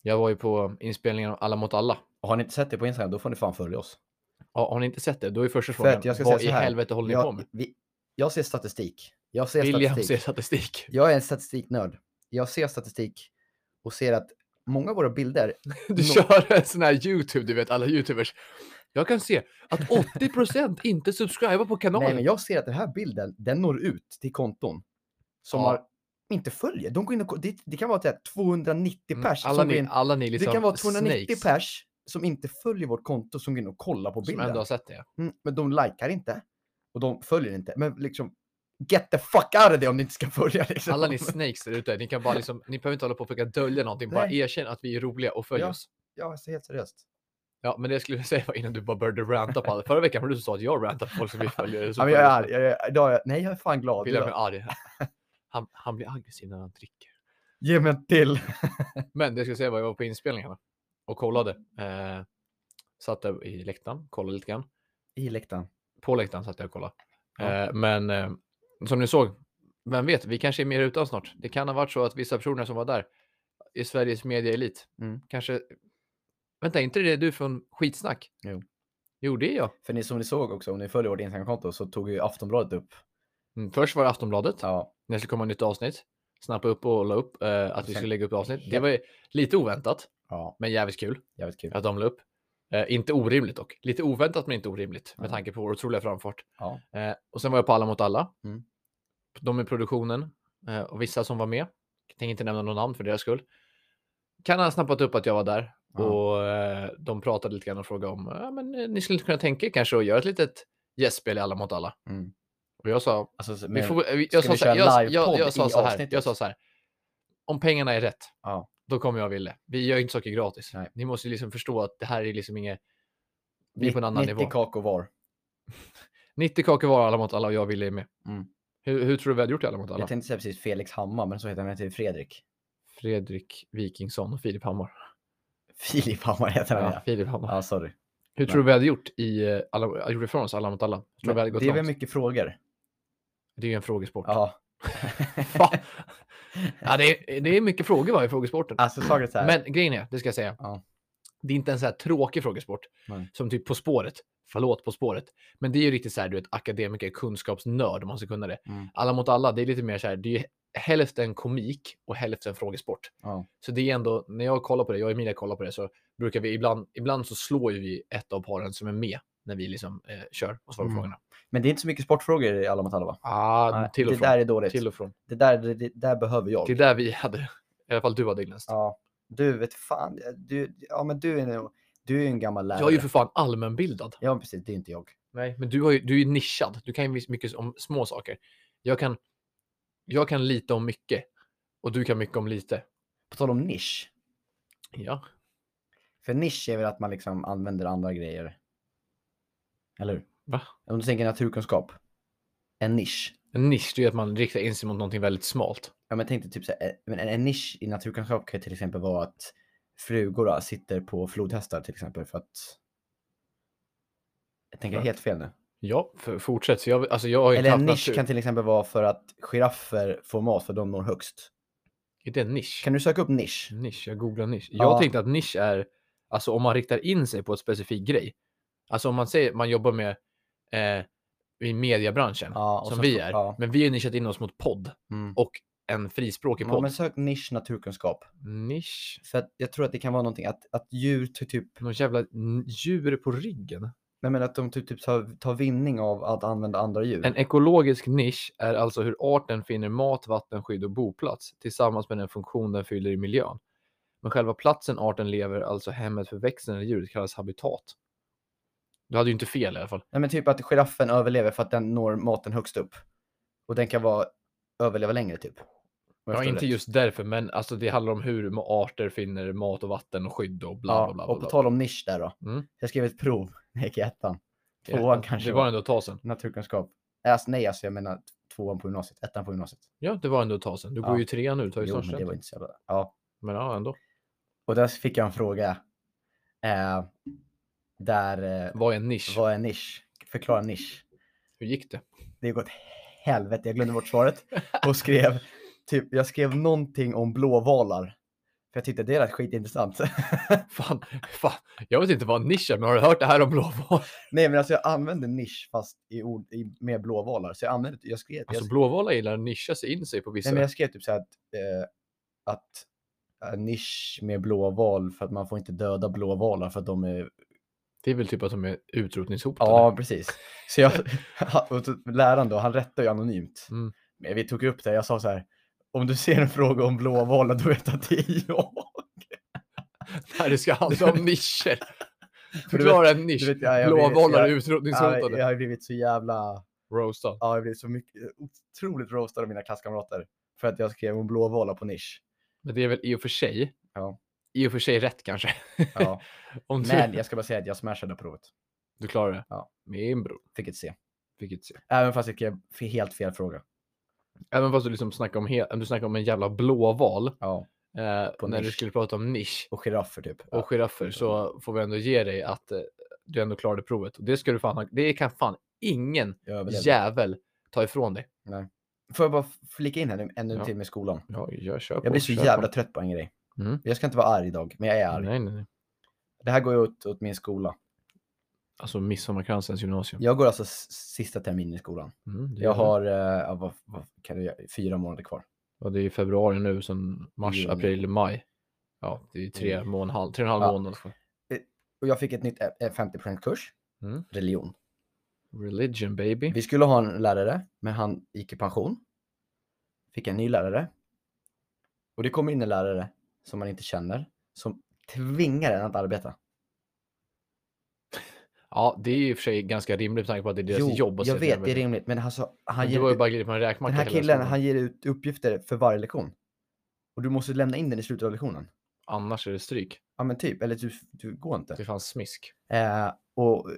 Jag var ju på inspelningen av Alla mot alla.
Och har ni inte sett det på Instagram, då får ni fan följa oss.
Ja, har ni inte sett det? Då är första
För
frågan.
att jag ska säga
vad
så
i
här,
helvete håller ni på
Jag,
med?
vi, jag ser statistik. Jag ser
William
statistik.
ser statistik.
Jag är en statistiknörd. Jag ser statistik och ser att många av våra bilder,
(laughs) Du
Nå-
kör en sån här YouTube, du vet alla YouTubers. Jag kan se att 80% inte subscribar på kanalen.
nej men jag ser att den här bilden, den når ut till konton som
Ja.
har, inte följer. De går in och, ko- det, det kan vara så här 290
Mm,
pers.
alla
som går
ni,
in,
alla ni liksom
det kan vara 290
snakes
pers som inte följer vårt konto som går in och kollar på
som
bilden.
ändå har sett
(laughs)
det.
Mm, men de likar inte. Och de följer inte. Men liksom, get the fuck out of there om ni inte ska följa. Liksom.
Alla ni snakes där ute, ni kan bara liksom, ni behöver inte hålla på och försöka dölja någonting, bara
Nej.
erkänn att vi är roliga och följ
Ja.
oss.
(laughs) Ja, alltså, helt seriöst.
Ja, men det skulle (laughs) jag säga var innan du bara började ranta på alla. Förra veckan var du som sa att jag rantar på folk som vi följer.
Ja, men jag är arg. Jag är, idag är, jag- nej, jag är fan glad.
William är
idag.
arg. (laughs) Han, han blir aggressiv när han dricker.
Ge mig en till.
Men det ska säga var jag var på inspelningarna och kollade. Eh, satt där i läktaren, kollade lite grann.
I läktaren.
På läktaren satt jag och kollade.
Ja.
Eh, men eh, som ni såg, vem vet, vi kanske är mer utan snart. Det kan ha varit så att vissa personer som var där i Sveriges mediaelit
Mm.
kanske... Vänta, är inte det du från Skitsnack?
Jo.
Jo, det är jag.
För ni som ni såg också, om ni följer vårt Instagramkonto så tog ju Aftonbladet upp.
Mm, först var det Aftonbladet.
Ja,
när det skulle komma ett nytt avsnitt. Snappa upp och la upp eh, att vi
Sen-
skulle lägga upp avsnitt. Det
Ja.
var ju lite oväntat,
ja
men jävligt kul
jävligt kul.
att de la upp. Eh, inte orimligt dock. Lite oväntat, men inte orimligt med
Nej.
tanke på vår otroliga framfart.
Ja.
Eh, och sen var jag på Alla mot alla.
Mm.
De i produktionen eh, och vissa som var med. Jag tänker inte nämna någon namn för deras skull. Kan ha snappat upp att jag var där
Ja.
och eh, de pratade lite grann och frågade om ja, men, eh, ni skulle inte kunna tänka er kanske att göra ett litet gästspel i Alla mot alla.
Mm.
Och jag sa
Alltså, så-
vi
men,
får, vi-
ska
jag,
vi
sa så
köra
här, jag,
livepodd
jag, jag, sa
i
så här,
avsnittet?
jag sa så här. Om pengarna är rätt,
Ja.
då kommer jag vilja. Vi gör ju inte saker gratis.
Nej.
Ni måste ju liksom förstå att det här är liksom inget... Vi är på en annan
90
nivå.
kakor var.
90 kakor var alla mot alla och jag ville med.
Mm.
Hur, hur tror du vi hade gjort i alla mot alla?
Jag tänkte säga precis Felix Hammar, men så heter han inte Fredrik. (laughs)
Fredrik Wikingsson och Filip Hammar.
Filip Hammar heter han
Ja,
ja.
Filip Hammar.
Ja, sorry.
Hur tror du vi hade gjort i eh, alla, gjort ifrån oss alla mot alla? Jag Tror
Men
vi hade gått
det är väl
långt.
mycket frågor.
Det är ju en frågesport. Ja.
Ja.
det, är, det är mycket frågor va, i frågesporten.
(laughs) alltså, saker så här.
Men grejen är, det ska jag säga.
Ja.
Det är inte en så här tråkig frågesport.
Nej.
Som typ På spåret. Förlåt, På spåret. Men det är ju riktigt så här, du vet, akademiker, kunskapsnörd om man ska kunna det.
Mm.
Alla mot alla, det är lite mer så här, det är ju hälften komik och hälften frågesport.
Ja.
Så det är ändå, när jag kollar på det, jag och Emilia kollar på det, så brukar vi ibland, ibland så slår ju vi ett av paren som är med när vi liksom eh, kör och svarar på
Mm.
frågorna.
Men det är inte så mycket sportfrågor i alla mot alla va?
Ah,
Nej,
till och
det
från.
där är dåligt.
Till och från.
Det, där, det, det där behöver jag.
Det är där vi hade, i alla fall du hade Ignest.
Ja, du vet fan, du, ja, men du, är, nog- du är ju en gammal lärare.
Jag är ju för fan allmänbildad.
Ja, precis, det är inte jag.
Nej, men du, har ju, du är ju nischad. Du kan ju vis- mycket om små saker. Jag kan, jag kan lite om mycket och du kan mycket om lite.
På tal om nisch.
Ja,
För nisch är väl att man liksom använder andra grejer. Eller hur?
va?
Om du tänker naturkunskap. En nisch.
En nisch, det är ju att man riktar in sig mot någonting väldigt smalt.
Ja, men tänk dig typ så här, eh, men en, en nisch i naturkunskap kan ju till exempel vara att flugor sitter på flodhästar till exempel för att. Jag tänker
Ja.
helt fel nu.
Ja, för, fortsätt. Så jag, alltså jag har ju
Eller en
haft
nisch
natur.
kan till exempel vara för att giraffer får mat för de når högst.
Är det en nisch?
Kan du söka upp nisch?
Nisch, jag googlar nisch.
Ja.
Jag tänkte att nisch är, alltså om man riktar in sig på ett specifik grej. Alltså om man säger man jobbar med eh, i mediebranschen,
Ja, och
som
sen
vi
så-
är.
ja.
Men vi har nischat in oss mot podd
Mm.
och en frispråkig
Ja,
podd.
men sök nisch naturkunskap.
Nisch.
För att jag tror att det kan vara någonting att, att djur ty- typ,
Någon jävla n- djur på ryggen.
nej men att de typ, typ tar, tar vinning av att använda andra djur.
En ekologisk nisch är alltså hur arten finner mat, vatten, skydd och boplats tillsammans med den funktion den fyller i miljön. Men själva platsen arten lever, alltså hemmet för växten eller djuret, kallas habitat. Du hade ju inte fel i alla fall.
Nej men typ att giraffen överlever för att den når maten högst upp. Och den kan vara, överleva längre typ. Om jag
Ja,
förstår
inte
rätt.
just därför, men alltså det handlar om hur ma- arter finner mat och vatten och skydd och bla bla bla.
ja, och på
bla,
tal om nisch där då.
Mm.
Jag skrev ett prov när jag gick i ettan.
bla.
Tvåan
Ja,
kanske
Det
var.
var ändå ett tag sedan.
Naturkunskap. Alltså, nej, alltså jag menar tvåan på gymnasiet, ettan på gymnasiet.
Ja, det var ändå ett tag sedan. Du
Ja.
går ju i trean nu, tar ju
Jo,
snart
men det
studenten.
var inte så jävla... Ja.
Men ja, ändå.
Och där fick jag en fråga. Eh, där, eh,
Vad är en nisch?
vad är nisch? Förklara nisch.
Hur gick det?
det går åt helvete, jag glömde
(laughs)
bort svaret. Och skrev, typ, jag skrev någonting om blåvalar. För jag tyckte det lät skitintressant. (laughs)
Fan, fan, jag vet inte vad en nisch är, men har du hört det här om blåval?
Nej men alltså jag använde nisch fast i ord, i, med blåvalar. Så jag använde, jag skrev,
(laughs) Alltså
jag,
blåvalar gillar att nischa sig in sig på vissa.
nej, men jag skrev typ så här att, eh, att eh, nisch med blåval för att man får inte döda blåvalar för att de är,
Det är väl typ att de är utrotningshotade. (laughs)
ja precis. Så jag, (laughs) och så läraren då, han rättade ju anonymt.
Mm.
Men vi tog upp det, jag sa så här, om du ser en fråga om blåvalar då vet att det är
(laughs)
jag.
Där det ska handla om nischer.
(laughs) För du
Förklara en nisch.
du vet, ja, jag blir-
blåvalar är
jag- Ja,
utrotningshotade.
jag har ju blivit så jävla,
Roastad.
ja, jag har blivit så mycket, otroligt roastad av mina klasskamrater. För att jag skrev om blåvalar på nisch.
Men det är väl i och för sig.
Ja.
I och för sig rätt kanske. (laughs)
Ja.
Om du,
Men jag ska bara säga att jag smashade provet.
du klarar det.
Ja.
Min bror.
Fick ett C.
Vilket se.
Även fast jag skrev f- helt fel fråga.
Även fast du liksom snackar om, he- du snackar om en jävla blåval.
Ja.
Eh,
På
när du
nisch.
skulle prata om nisch
Och giraffer typ.
och giraffer så får vi ändå ge dig att eh, du ändå klarade provet. Och det ska du fan ha. Det kan fan ingen
jag överlevde.
jävel ta ifrån dig.
Får jag bara flika in här nu, ännu
Ja.
till med skolan?
Ja, jag kör på.
Jag blir så
kör på.
jävla trött på en grej.
Mm.
Jag ska inte vara arg idag, men jag är arg.
Nej, nej, nej.
Det här går ju åt, åt min skola.
Alltså Midsommarkransens gymnasium.
Jag går alltså s- sista terminen i skolan.
Mm, det
Jag
gör du.
har, eh, ja, vad, vad kan du göra? Fyra månader kvar.
Ja, det är februari nu, sen mars,
Juni.
april, maj. Ja, det är tre,
Juni.
mån, halv, tre och en halv
Mm. Ja.
månad kvar.
Och jag fick ett nytt eh, 50%-kurs.
Mm.
Religion.
Religion baby.
Vi skulle ha en lärare, men han gick i pension. Fick en ny lärare. Och det kommer in en lärare som man inte känner, som tvingar en att arbeta.
Ja, det är ju i och för sig ganska rimligt med tanke på att det är deras jobb att
jag
se till
vet, det är
arbetet.
rimligt, men alltså, han
Men
ger,
Du har ju bara glidit på en
den
räkmacka
här
hela
killen,
skolan.
han ger ut uppgifter för varje lektion. Och du måste lämna in den i slutet av lektionen.
Annars är det stryk.
Ja men typ, eller du, du går inte.
Det fanns
(laughs)
smisk.
Eh, och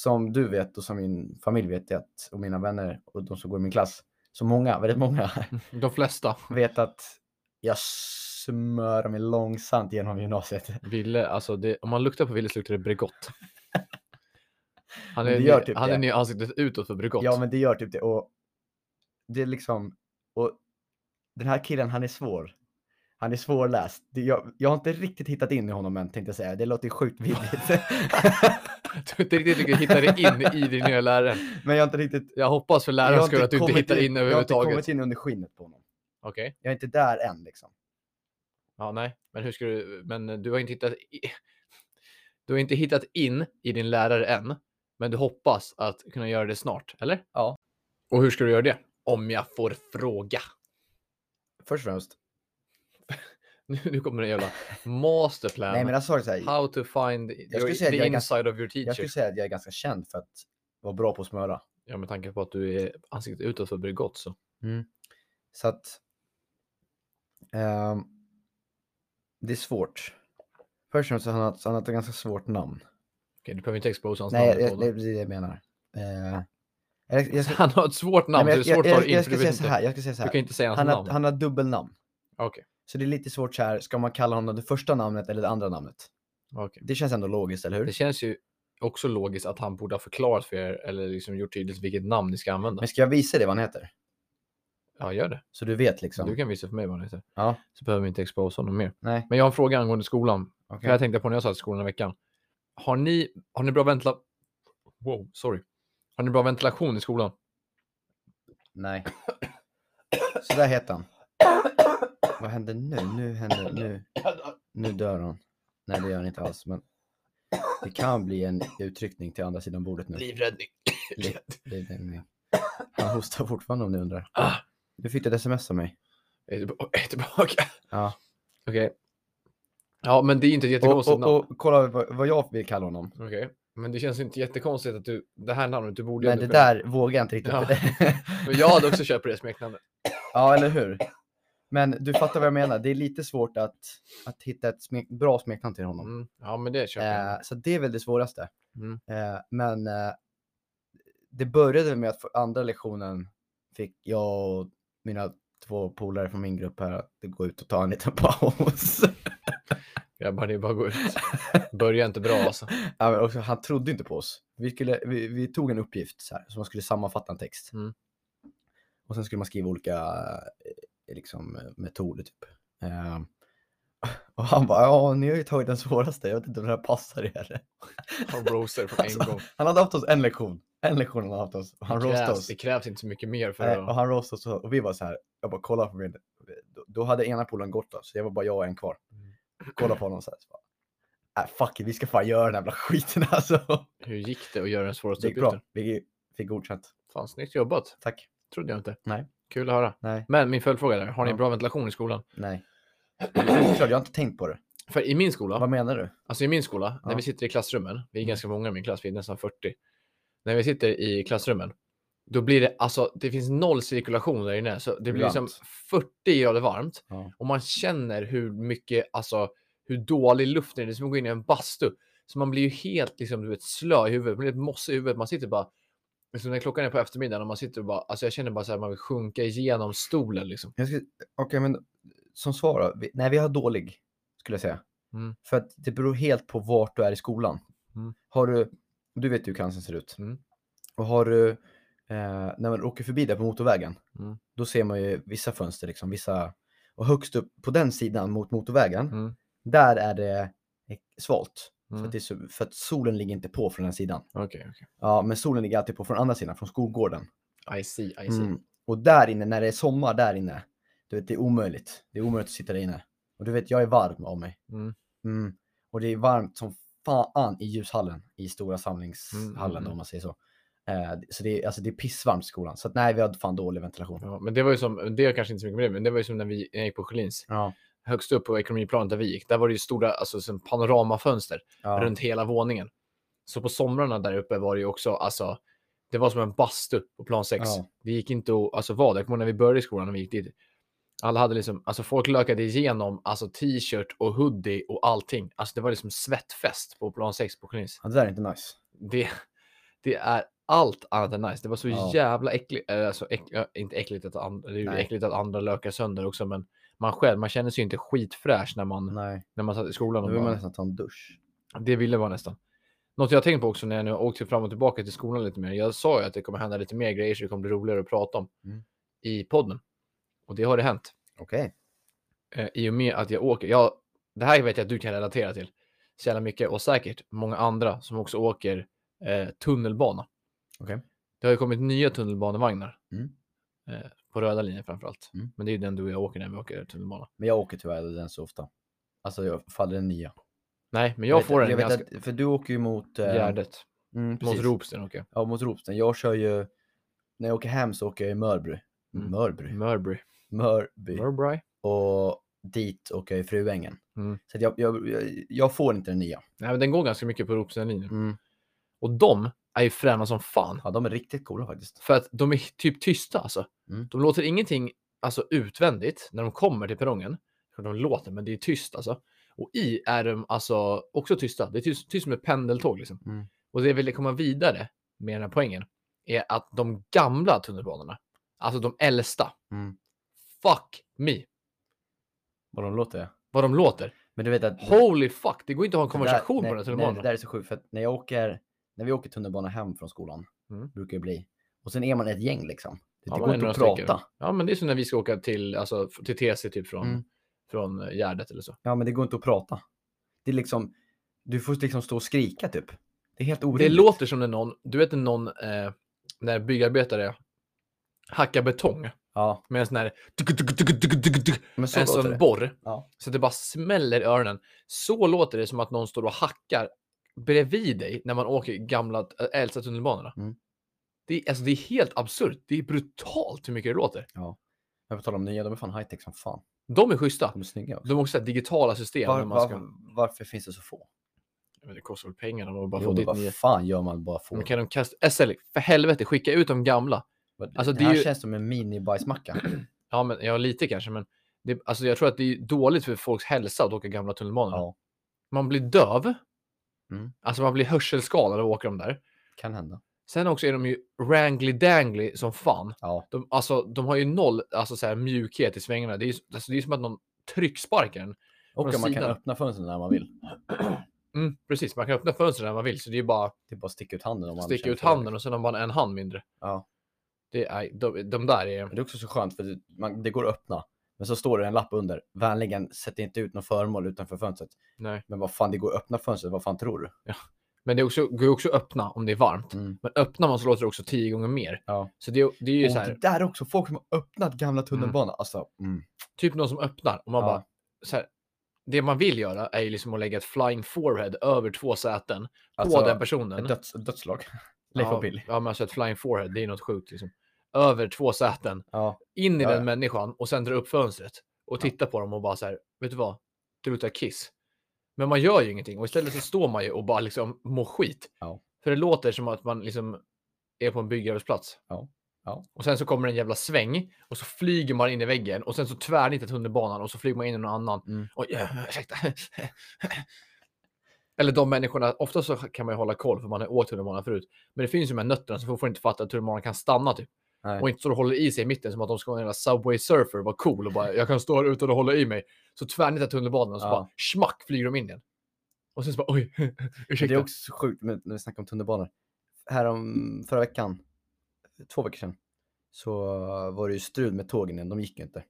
som du vet och som min familj vet, det att, och mina vänner och de som går i min klass, så många, väldigt många,
De flesta
vet att jag smör mig långsamt genom gymnasiet.
ville, alltså det, om man luktar på Ville så luktar det Bregott. Han
Men
är,
det gör
ny,
typ
han är
det.
ny ansiktet utåt för Bregott.
Ja, men det gör typ det. Och det är liksom, och den här killen han är svår. Han är svårläst. Det, jag, jag har inte riktigt hittat in i honom än tänkte jag säga. Det låter ju sjukt vidrigt.
(laughs) Du har inte riktigt lyckats hitta dig in i din nya lärare. (laughs)
men jag har inte riktigt.
Jag hoppas för
jag
lärarens
har
skull att du inte
kommit
hittar in
Jag har inte
överhuvudtaget.
kommit in under skinnet på honom.
Okej.
Jag är inte där än liksom.
Ja, nej. Men hur ska (laughs) du... Men du har inte hittat... i- Du har inte hittat in i din lärare än. Men du hoppas att kunna göra det snart, eller?
Ja.
Och hur ska du göra det? Om jag får fråga. (laughs)
Först och främst.
Nu, nu kommer en jävla masterplan.
Nej men alltså så är det så här,
How to find your,
skulle säga att
the
jag är ganska-
inside of your
jag
teacher.
skulle säga att jag är ganska känd för att vara bra på att smöra.
Ja, med tanke på att du är ansiktet utåt för Bregott så.
Så att... ehm, det är svårt. Först och främst så har han, ett- så har han ett ganska svårt namn.
Okej, du behöver inte exposa hans
Nej,
namn. i
jag, det
podden.
är det jag menar. Eh, jag, jag, ska,
Han har ett svårt
nej,
namn,
men
så
jag,
det är svårt
jag,
att ta
jag,
det in
jag
för du
ska
vet
säga så
inte.
här. Jag ska säga så
Du
här.
kan inte säga hans
Han har,
namn.
han har dubbelnamn.
Okej,
Så det är lite svårt så här, ska man kalla honom det första namnet eller det andra namnet?
okej.
Det känns ändå logiskt, eller
Det
hur?
känns ju också logiskt att han borde ha förklarat för er eller liksom gjort tydligt vilket namn ni ska använda.
Men ska jag visa dig vad han heter?
Ja, gör det.
Så du vet liksom.
Du kan visa för mig vad han heter.
Ja,
Så behöver vi inte exposa honom mer.
nej.
Men jag har en fråga angående skolan. För
okej.
jag tänkte på när jag satt i skolan i veckan. Har ni, har ni bra ventilation? Wow, sorry. Har ni bra ventilation i skolan?
Nej. Så där heter han. Vad händer nu? Nu händer, nu, nu dör han. Nej, det gör han inte alls, men det kan bli en utryckning till andra sidan bordet nu.
Livräddning.
Liv- Det är det nu. Han hostar fortfarande om ni undrar.
(coughs) Ah.
Du fick ett sms av mig.
Jag (laughs) är tillbaka.
Ja.
Okej. Ja, men det är inte ett
Och,
jättekonstigt
och,
namn.
och kolla vad, vad jag vill kalla honom.
Okej. Men det känns inte jättekonstigt att du, det här namnet, du borde
Men det
ändå
där vågar jag inte riktigt.
Ja.
för (laughs) det-
kunna- Men jag hade också köpt på det
(laughs)
smeknamnet.
ja, eller hur? Men du fattar vad jag menar. Det är lite svårt att, att hitta ett smek, bra smeknamn till honom.
Mm. Ja, men det köper jag.
Eh, så det är väl det svåraste.
Mm.
Eh, men eh, det började med att för andra lektionen fick jag och mina två polare från min grupp här att gå ut och ta en liten paus. (laughs)
Grabbar, det är bara att gå ut. Börja inte bra alltså.
(laughs) Ja, men också, han trodde inte på oss. Vi, skulle, vi, vi tog en uppgift så här, som man skulle sammanfatta en text.
Mm.
Och sen skulle man skriva olika eh, liksom, eh, metoder. Typ. Eh, (laughs) och han bara, ja ni har ju tagit den svåraste, jag vet inte om det här passar er.
Han roastar från en
Alltså,
gång.
Han hade haft oss en lektion. En lektion han hade haft oss. Och han
det,
roastade
krävs,
oss.
det krävs inte så mycket mer för
Nej,
att...
Eh, och han roastade oss och- och vi var så här, jag bara kolla på min. Då, då hade ena polaren gått då, så jag var bara jag och en kvar.
Mm.
Kolla på honom så här. Så bara, äh, fuck it, vi ska fan göra den här jävla skiten (laughs) alltså.
Hur gick det att göra den svåraste
Det gick bra.
uppgiften?
Vi fick godkänt.
Fan, snyggt jobbat.
Tack.
Trodde jag inte.
Nej.
Kul att höra.
Nej,
Men min följdfråga där, har ni
Ja.
bra ventilation i skolan? (clears throat)
nej. Det är Oklart, jag har inte tänkt på det.
För i min skola,
Vad menar du?
Alltså i min skola, när
Ja.
vi sitter i klassrummen, vi är
Mm.
ganska många i min klass, vi är nästan 40. När vi sitter i klassrummen, då blir det alltså, det finns noll cirkulation där inne. Så det blir liksom
Varmt.
40 grader varmt
Ja.
och man känner hur mycket, alltså hur dålig luften är. Det är som att gå in i en bastu. Så man blir ju helt liksom, du vet, slö i huvudet, man blir ett mosse i huvudet. Man sitter bara, liksom när klockan är på eftermiddagen och man sitter och bara, alltså jag känner bara så här, man vill sjunka igenom stolen liksom.
Jag skulle- Okej, men som svar då. Vi, nej, vi har dålig, skulle jag säga.
Mm.
För att det beror helt på vart du är i skolan.
Mm.
Har du, du vet ju hur cancern ser ut.
Mm.
Och har du, eh, när man åker förbi där på motorvägen,
Mm.
då ser man ju vissa fönster liksom, vissa, och högst upp på den sidan mot motorvägen,
Mm.
där är det eh, svalt. För,
Mm.
att det är, så- för att solen ligger inte på från den sidan.
Okej, okej.
Ja, men solen ligger alltid på från andra sidan, från skolgården.
I see, I see.
Mm. Och där inne, när det är sommar där inne, du vet, det är omöjligt. Det är omöjligt att sitta där inne. Och du vet, jag är varm av mig.
Mm.
Mm. Och det är varmt som fan i ljushallen, i stora
Mm,
samlingshallen
mm,
då,
mm.
om man säger så. Eh, så det är, alltså, det är pissvarmt i skolan. Så att, nej, vi hade fan dålig ventilation.
Ja, men det var ju som, det har kanske inte så mycket med det, men det var ju som när vi när jag gick på Schelins.
Ja,
Högst upp på ekonomiplanet där vi gick, där var det ju stora alltså, som panoramafönster
ja.
runt hela våningen. Så på somrarna där uppe var det ju också, alltså, det var som en bastu på plan 6.
Ja.
Det gick inte att alltså, vara där. Jag kommer ihåg när vi började i skolan, när vi gick dit. Alla hade liksom, alltså folk lökade igenom alltså t-shirt och hoodie och allting. Alltså det var liksom svettfest på plan 6 på Schelins.
ja, det där är inte nice.
Det, det är allt annat än nice. Det var så
Ja.
jävla äckligt, eh, alltså äck, ja, inte äckligt att, andra, det är ju
Nej.
äckligt att andra lökar sönder också, men man själv, man känner sig ju inte skitfräsch när man,
Nej,
när man satt i skolan.
då
Och
vill man
Mm. bara,
nästan ta en dusch.
det ville man nästan. Något jag har tänkt på också när jag nu har åkt fram och tillbaka till skolan lite mer. Jag sa ju att det kommer hända lite mer grejer så det kommer bli roligare att prata om
Mm.
i podden. Och det har det hänt.
Okej.
Eh, I och med att jag åker. Jag, det här vet jag att du kan relatera till så jävla mycket och säkert många andra som också åker eh, tunnelbana.
Okej.
Det har ju kommit nya tunnelbanevagnar.
Mm.
Eh, på röda linjen framför allt.
Mm.
Men det är ju den du och jag åker när vi åker tunnelbana.
Men jag åker tyvärr den så ofta. Alltså, jag faller den nya.
Nej, men jag,
vet-
får den
jag vet
ganska...
att, För du åker ju mot... eh,
Gärdet.
Mm,
Mot
precis.
Ropsten åker
Ja, mot Ropsten. Jag kör ju, när jag åker hem så åker jag i Mörby.
Mm. jag.
Mörby?
Mörby.
Mörby.
Mörby.
Och dit åker jag i Fruängen.
Mm.
Så att jag, jag, jag, jag får inte den nya.
Nej, men den går ganska mycket på Ropsten-linjen.
Mm.
Och de är ju fräna som fan.
Ja, de är riktigt coola faktiskt.
För att de är typ tysta alltså.
Mm.
De låter ingenting alltså, utvändigt när de kommer till perrongen. De låter, men det är tyst alltså. Och i är de alltså också tysta. Det är tyst, tyst som ett pendeltåg liksom.
Mm.
Och det jag ville komma vidare med den här poängen är att de gamla tunnelbanorna, alltså de äldsta,
Mm.
fuck me
Vad de låter.
vad de låter.
Men du vet att...
Holy fuck, det går inte att ha en
Det där-
konversation
nej,
på den här
nej, Det
tunnelbanan.
där är så sjukt för att när jag åker, när vi åker tunnelbana hem från skolan,
Mm.
brukar det bli, och sen är man ett gäng liksom. Det,
Ja, man
det går
är
inte att
några stycken.
prata.
Ja, men det är som när vi ska åka till, alltså, till TC typ från,
Mm.
från eh, Gärdet eller så.
Ja, men det går inte att prata. Det är liksom, du får liksom stå och skrika typ. Det är helt
Det
orimligt.
låter som när någon, du vet när någon, eh, när byggarbetare hackar betong
Ja,
med en sån här, tuk, tuk, tuk, tuk, tuk, tuk,
men så
en
låter
sån
det.
borr,
Ja.
så att det bara smäller i öronen. Så låter det som att någon står och hackar bredvid dig när man åker gamla, äh, äldsta tunnelbanorna.
Mm.
Det, är, alltså, det är helt absurt. Det är brutalt hur mycket det låter.
Men på tal om nya, de är fan high-tech som fan.
De är schyssta.
De är snygga också.
De har också så här digitala system.
Var,
när man ska...
var, varför finns det så få?
Men det kostar väl pengar om man bara
Jo,
får
men
dit
vad
nya.
fan gör man bara få?
Men kan de kasta... SL, för helvete, skicka ut de gamla.
Vad-
alltså,
det
det är
här
ju-
känns som
(clears throat)
en minibajsmacka.
Ja, men ja, lite kanske, men det, alltså, jag tror att det är dåligt för folks hälsa att åka gamla tunnelbanor.
ja,
Man blir döv.
Mm.
Alltså man blir hörselskadad av att åka de där.
kan hända.
Sen också är de ju wrangly-dangly som fan.
Ja,
De, alltså, de har ju noll alltså, så här, mjukhet i svängarna. Det är ju alltså, det är som att någon trycksparkar en.
och
Från
man kan
sidan.
öppna fönstren när man vill.
Mm, precis, man kan öppna fönstren när man vill, så det är ju bara
Det är Typ bara att sticka ut handen om man
sticka
känner
ut
för det,
handen och sen har man en hand mindre.
Ja.
Det är, de, de där är...
Men Det är också så skönt för det, man, det går att öppna. Men så står det en lapp under. Vänligen sätt inte ut något föremål utanför fönstret.
Nej.
Men vad fan, det går att öppna fönstret. Vad fan tror du?
Men det är också, går ju också att öppna om det är varmt.
Mm.
Men öppnar man så låter det också tio gånger mer.
Ja.
Så det, är- det är ju
och
så
det
här,
där är också folk som har öppnat gamla tunnelbanor. Alltså, mm.
typ någon som öppnar och man
Ja.
bara så här, det man vill göra är ju liksom att lägga ett flying forehead över två säten
alltså,
på den personen.
ett döds, dödslag. (laughs) Leif
ja,
och Billy.
ja, men alltså ett flying forehead, det är ju något sjukt liksom. Över två säten,
Ja.
in i
Ja,
den
ja.
människan och sen dra upp fönstret och titta på dem och bara så här, vet du vad, det luktar kiss. Men man gör ju ingenting och istället så står man ju och bara liksom mår skit.
Ja.
För det låter som att man liksom är på en byggarbetsplats.
Ja. Ja.
Och sen så kommer en jävla sväng och så flyger man in i väggen och sen så tvärnitar tunnelbanan och så flyger man in i någon annan.
Mm.
Oj, eh, ursäkta. (laughs) Eller de människorna, ofta så kan man ju hålla koll för man har åkt tunnelbanan förut. Men det finns ju de här nötterna som fortfarande inte fattar att tunnelbanan kan stanna typ.
Nej.
Och inte står och håller i sig i mitten som att de ska vara en jävla Subway Surfer och vara cool och bara jag kan stå här utan att hålla i mig. Så tvärnitar tunnelbanan och så
Ja.
bara smack flyger de in igen. Och sen så bara oj, (laughs)
Men
ursäkta.
det är också så sjukt men när vi snackar om tunnelbanor. Härom förra veckan, två veckor sedan, så var det ju strul med tågen. igen. De gick ju inte.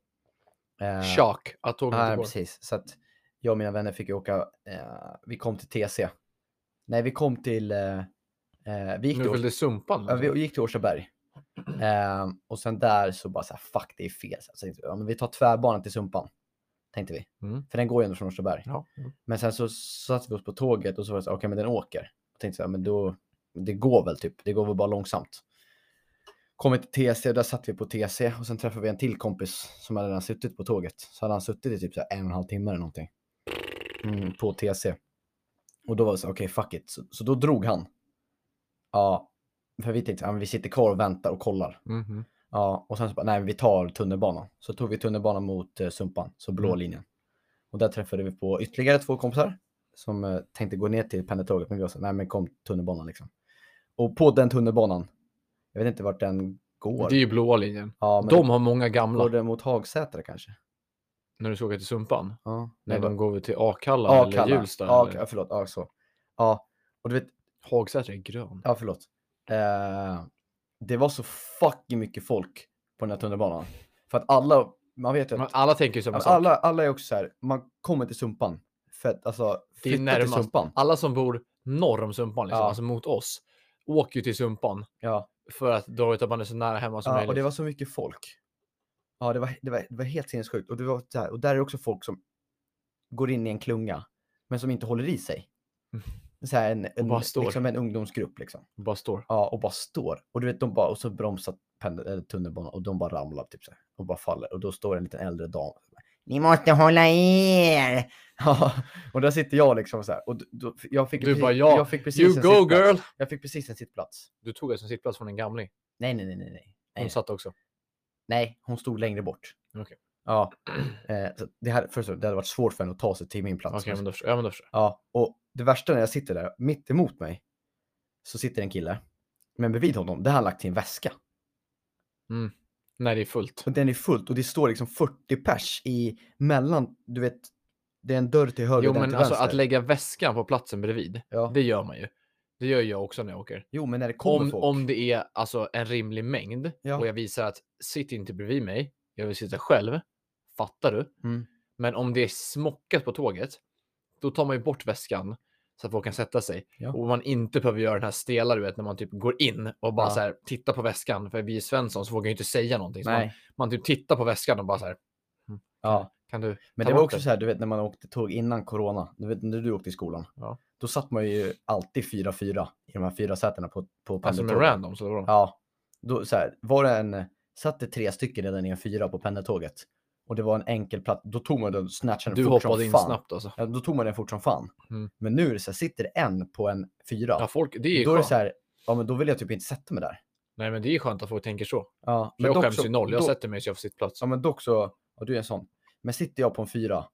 Eh,
Chock att tåget
Ja,
inte går.
precis. Så att jag och mina vänner fick ju åka, eh, vi kom till TC. Nej, vi kom till, eh, eh, vi, gick
Nu
till Års-
följde Sumpan.
ja, vi gick till Årstaberg. Eh, och sen där så bara så här, fuck det är fel. Så jag tänkte, ja, men vi tar tvärbanan till Sumpan, tänkte vi.
Mm.
För den går ju ändå från Årstaberg.
Ja.
Men sen så satte vi oss på tåget och så var det så här, okej men den åker. Jag tänkte så här, men då, det går väl typ, det går väl bara långsamt. Kommer till TC, där satt vi på TC och sen träffade vi en till kompis som hade redan suttit på tåget. Så hade han suttit i typ så här en och en halv timme eller någonting. Mm, på TC. Och då var det så här, okej fuck it. Så, så då drog han. Ja, för vi tänkte, ja, men vi sitter kvar och väntar och kollar.
Mhm.
Ja, och sen så bara, nej, vi tar tunnelbanan. Så tog vi tunnelbanan mot eh, Sumpan, så blå
Mm.
linjen. Och där träffade vi på ytterligare två kompisar som eh, tänkte gå ner till pendeltåget, men vi var så, nej, men kom tunnelbanan liksom. Och på den tunnelbanan, jag vet inte vart den går.
Det är ju blåa linjen.
Ja, men
De har många
den
gamla
går den mot Hagsätra kanske?
när du ska åka till Sumpan.
Ja,
Nej,
nej,
de
va-
går väl till Akalla
ja,
eller
Kalla.
Hjulsta.
Ja,
eller-
ja, förlåt, ja, så. Ja, och du vet,
Hagsätra är grön.
Ja, förlåt. Eh, det var så fucking mycket folk på den här tunnelbanan. För att alla, man vet ju att
Men alla tänker ju samma
Alltså,
sak. Alla,
alla, alla är också så här, man kommer till Sumpan. För att alltså,
Det är
flytta till
närmast.
Sumpan.
som bor norr om Sumpan, liksom,
Ja.
alltså mot oss, åker ju till Sumpan
Ja.
för att då vet att man är liksom- så nära hemma som
ja,
möjligt.
och det var så mycket folk. Ja, det var, det var, det var helt sinnessjukt. Och, det var så här, och där är också folk som går in i en klunga, men som inte håller i sig. så här en, en,
Mm. bara står.
liksom en ungdomsgrupp liksom.
Bara står.
Ja, och bara står. Och du vet, de bara, och så bromsar pendel, eller tunnelbanan och de bara ramlar typ så här, och bara faller. Och då står en liten äldre dam. och bara, Ni måste hålla er! (laughs) Ja, och där sitter jag liksom så här. Och d- då, jag fick
Du
precis,
bara, ja,
jag fick precis
You
en
go
sittplats.
girl!
Jag fick precis en sittplats.
Du tog alltså en sittplats från en gamling.
Nej, nej, nej, nej, nej. Nej.
Hon satt också.
Nej, hon stod längre bort.
Okej.
Ja, (clears throat) eh, så det, här, först, och främst, det hade varit svårt för henne att ta sig till min plats.
Okej, men då förstår jag. Ja, men då förstår jag.
Ja, och det värsta när jag sitter där, mitt emot mig, så sitter en kille. Men bredvid honom, där har han lagt sin väska.
Nej, det är fullt.
Och den är fullt och det står liksom 40 pers i mellan, du vet, det är en dörr till höger
Jo,
och den
men
till
alltså
vänster.
att lägga väskan på platsen bredvid,
ja.
det gör man ju. Det gör jag också när jag åker.
Jo, men när det kommer
Om,
folk.
om det är alltså en rimlig mängd
Ja.
och jag visar att sitt inte bredvid mig, jag vill sitta själv. Fattar du?
Mm.
Men om det är smockat på tåget, då tar man ju bort väskan så att folk kan sätta sig.
Ja.
Och man inte behöver göra den här stela, du vet, när man typ går in och bara
Ja.
så här tittar på väskan. För vi i Svensson så vågar ju inte säga någonting. Så man,
Nej.
man typ tittar på väskan och bara så här,
Ja.
kan du?
Men
ta
det var
bort
också
den?
så här, du vet när man åkte tåg innan corona, du vet när du åkte i skolan.
Ja.
Då satt man ju alltid 4-4 i de här fyra sätena på, på
Alltså med
pendeltågen.
random, så det var de.
Ja, då så här, var det en, satt det tre stycken redan i en fyra på pendeltåget och det var en enkel plats, då tog man den, snatchade den
Du
fort som
hoppade in
fan.
snabbt alltså.
Ja, då tog man den fort som fan.
Mm.
Men nu är det så här, sitter det en på en fyra,
Ja, folk, det är ju
då är det
skönt.
så här, ja men då vill jag typ inte sätta mig där.
Nej, men det är ju skönt att folk tänker så.
Ja,
Men jag
dock
skäms
så-
ju noll. Jag
dock-
sätter mig så jag får sitt plats.
Ja men dock så, ja, du är en sån. Men sitter jag på en fyra,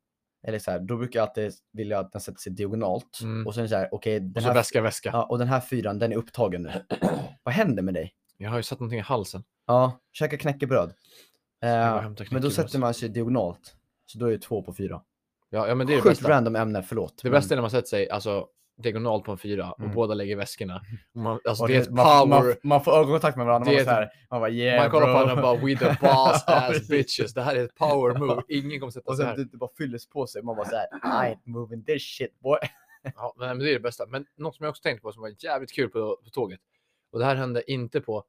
eller så här, då brukar jag alltid vilja att den sätter sig diagonalt.
Mm.
Och sen så här, okej,
Och
den
så
här,
väska, väska.
ja, och den här fyran, den är upptagen nu. (clears throat) Vad händer med dig?
Jag har ju satt någonting i halsen.
Ja, käka knäckebröd.
bara
Eh,
hämta
men då
knäckebröd.
sätter man sig diagonalt. Så då är det två på fyra.
Ja, ja men det är det
Sjukt
bästa.
random ämne, förlåt.
Det
men-
bästa är när man sätter sig alltså, diagonalt på en fyra och
Mm.
båda lägger väskorna. Man, alltså,
Och
det är
du
ett
vet, man,
power.
man,
Man,
man får ögonkontakt med varandra.
Det
Man,
är
bara så här, man bara yeah
kollar på
bro."
varandra och bara
(laughs)
we the boss
Ja,
ass
precis.
bitches. Det här är ett power
(laughs)
move. Ingen kommer sätta
Och
sig
sen typ
här.
det, det bara fylls på sig. Man bara så här, I ain't moving this shit boy. (laughs)
Ja, men men det är det bästa. Men något som jag också tänkte på som var jävligt kul på, på tåget. Och det här hände inte på...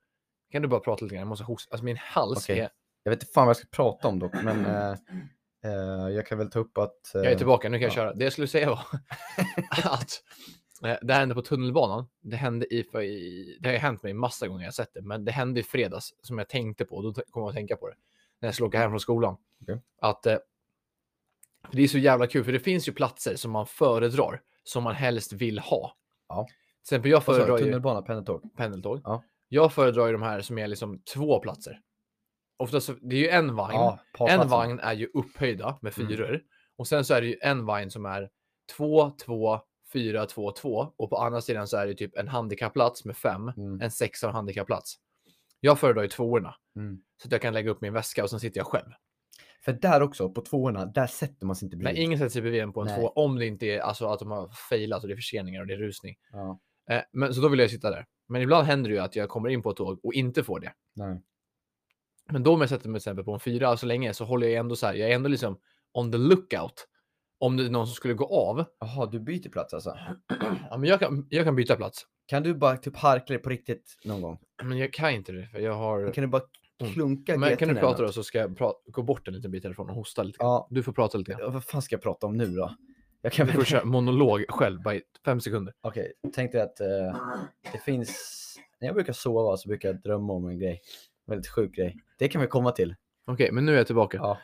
Kan du bara prata lite grann? Jag måste hosta. Alltså min hals
Okej.
är...
Jag vet inte fan vad jag ska prata om dock, men eh, eh, jag kan väl ta upp att... eh,
Jag är typ tillbaka, nu kan jag
ja.
köra. Det jag skulle säga
(laughs)
var att eh, det här hände på tunnelbanan. Det hände i, för i, det har ju hänt mig massa gånger jag har sett det, men det hände i fredags som jag tänkte på och då t- kom jag att tänka på det när jag skulle åka hem från skolan.
Okej.
Att eh, för det är så jävla kul, för det finns ju platser som man föredrar som man helst vill ha.
Ja.
Till exempel jag
Vad sa
föredrar
du?
ju
Tunnelbana, pendeltåg?
pendeltåg.
Ja.
Jag föredrar ju de här som är liksom två platser. Oftast, så- det är ju en vagn. En
parplatsen.
vagn är ju upphöjda med
Mm.
fyror och sen så är det ju en vagn som är 2, 2, 4, 2, 2 och på andra sidan så är det typ en handikappplats med fem,
Mm.
en sexa och en handikappplats. Jag föredrar ju tvåorna
Mm.
så att jag kan lägga upp min väska och sen sitter jag själv.
För där också, på tvåorna, där sätter man sig inte
Men ingen sätter sig bredvid en på en
Nej.
tvåa om det inte är alltså att de har failat och det är förseningar och det är rusning.
Ja,
Eh, men, så då vill jag sitta där. Men ibland händer det ju att jag kommer in på ett tåg och inte får det.
nej.
Men då om jag sätter mig till exempel på en fyra så länge så håller jag ändå så här. Jag är ändå liksom on the lookout. Om det är någon som skulle gå av.
Jaha, du byter plats alltså?
Ja, men jag, kan, jag kan byta plats.
Kan du bara typ harkla dig på riktigt någon gång?
Men jag kan inte det. För jag har...
Kan du bara
Mm.
klunka
Men kan
geten
du
eller
prata
något?
då så ska jag pra- gå bort en liten bit härifrån och hosta lite. grann.
Ja,
Du får prata
(laughs)
lite. grann.
ja, vad fan ska jag prata om nu då? Jag kan
Du
väl...
får köra monolog själv bara i fem sekunder.
Okej, tänk dig att eh, det finns... När jag brukar sova så brukar jag drömma om en grej. Väldigt sjuk grej. Det kan vi komma till.
Okej, men nu är jag tillbaka.
Ja.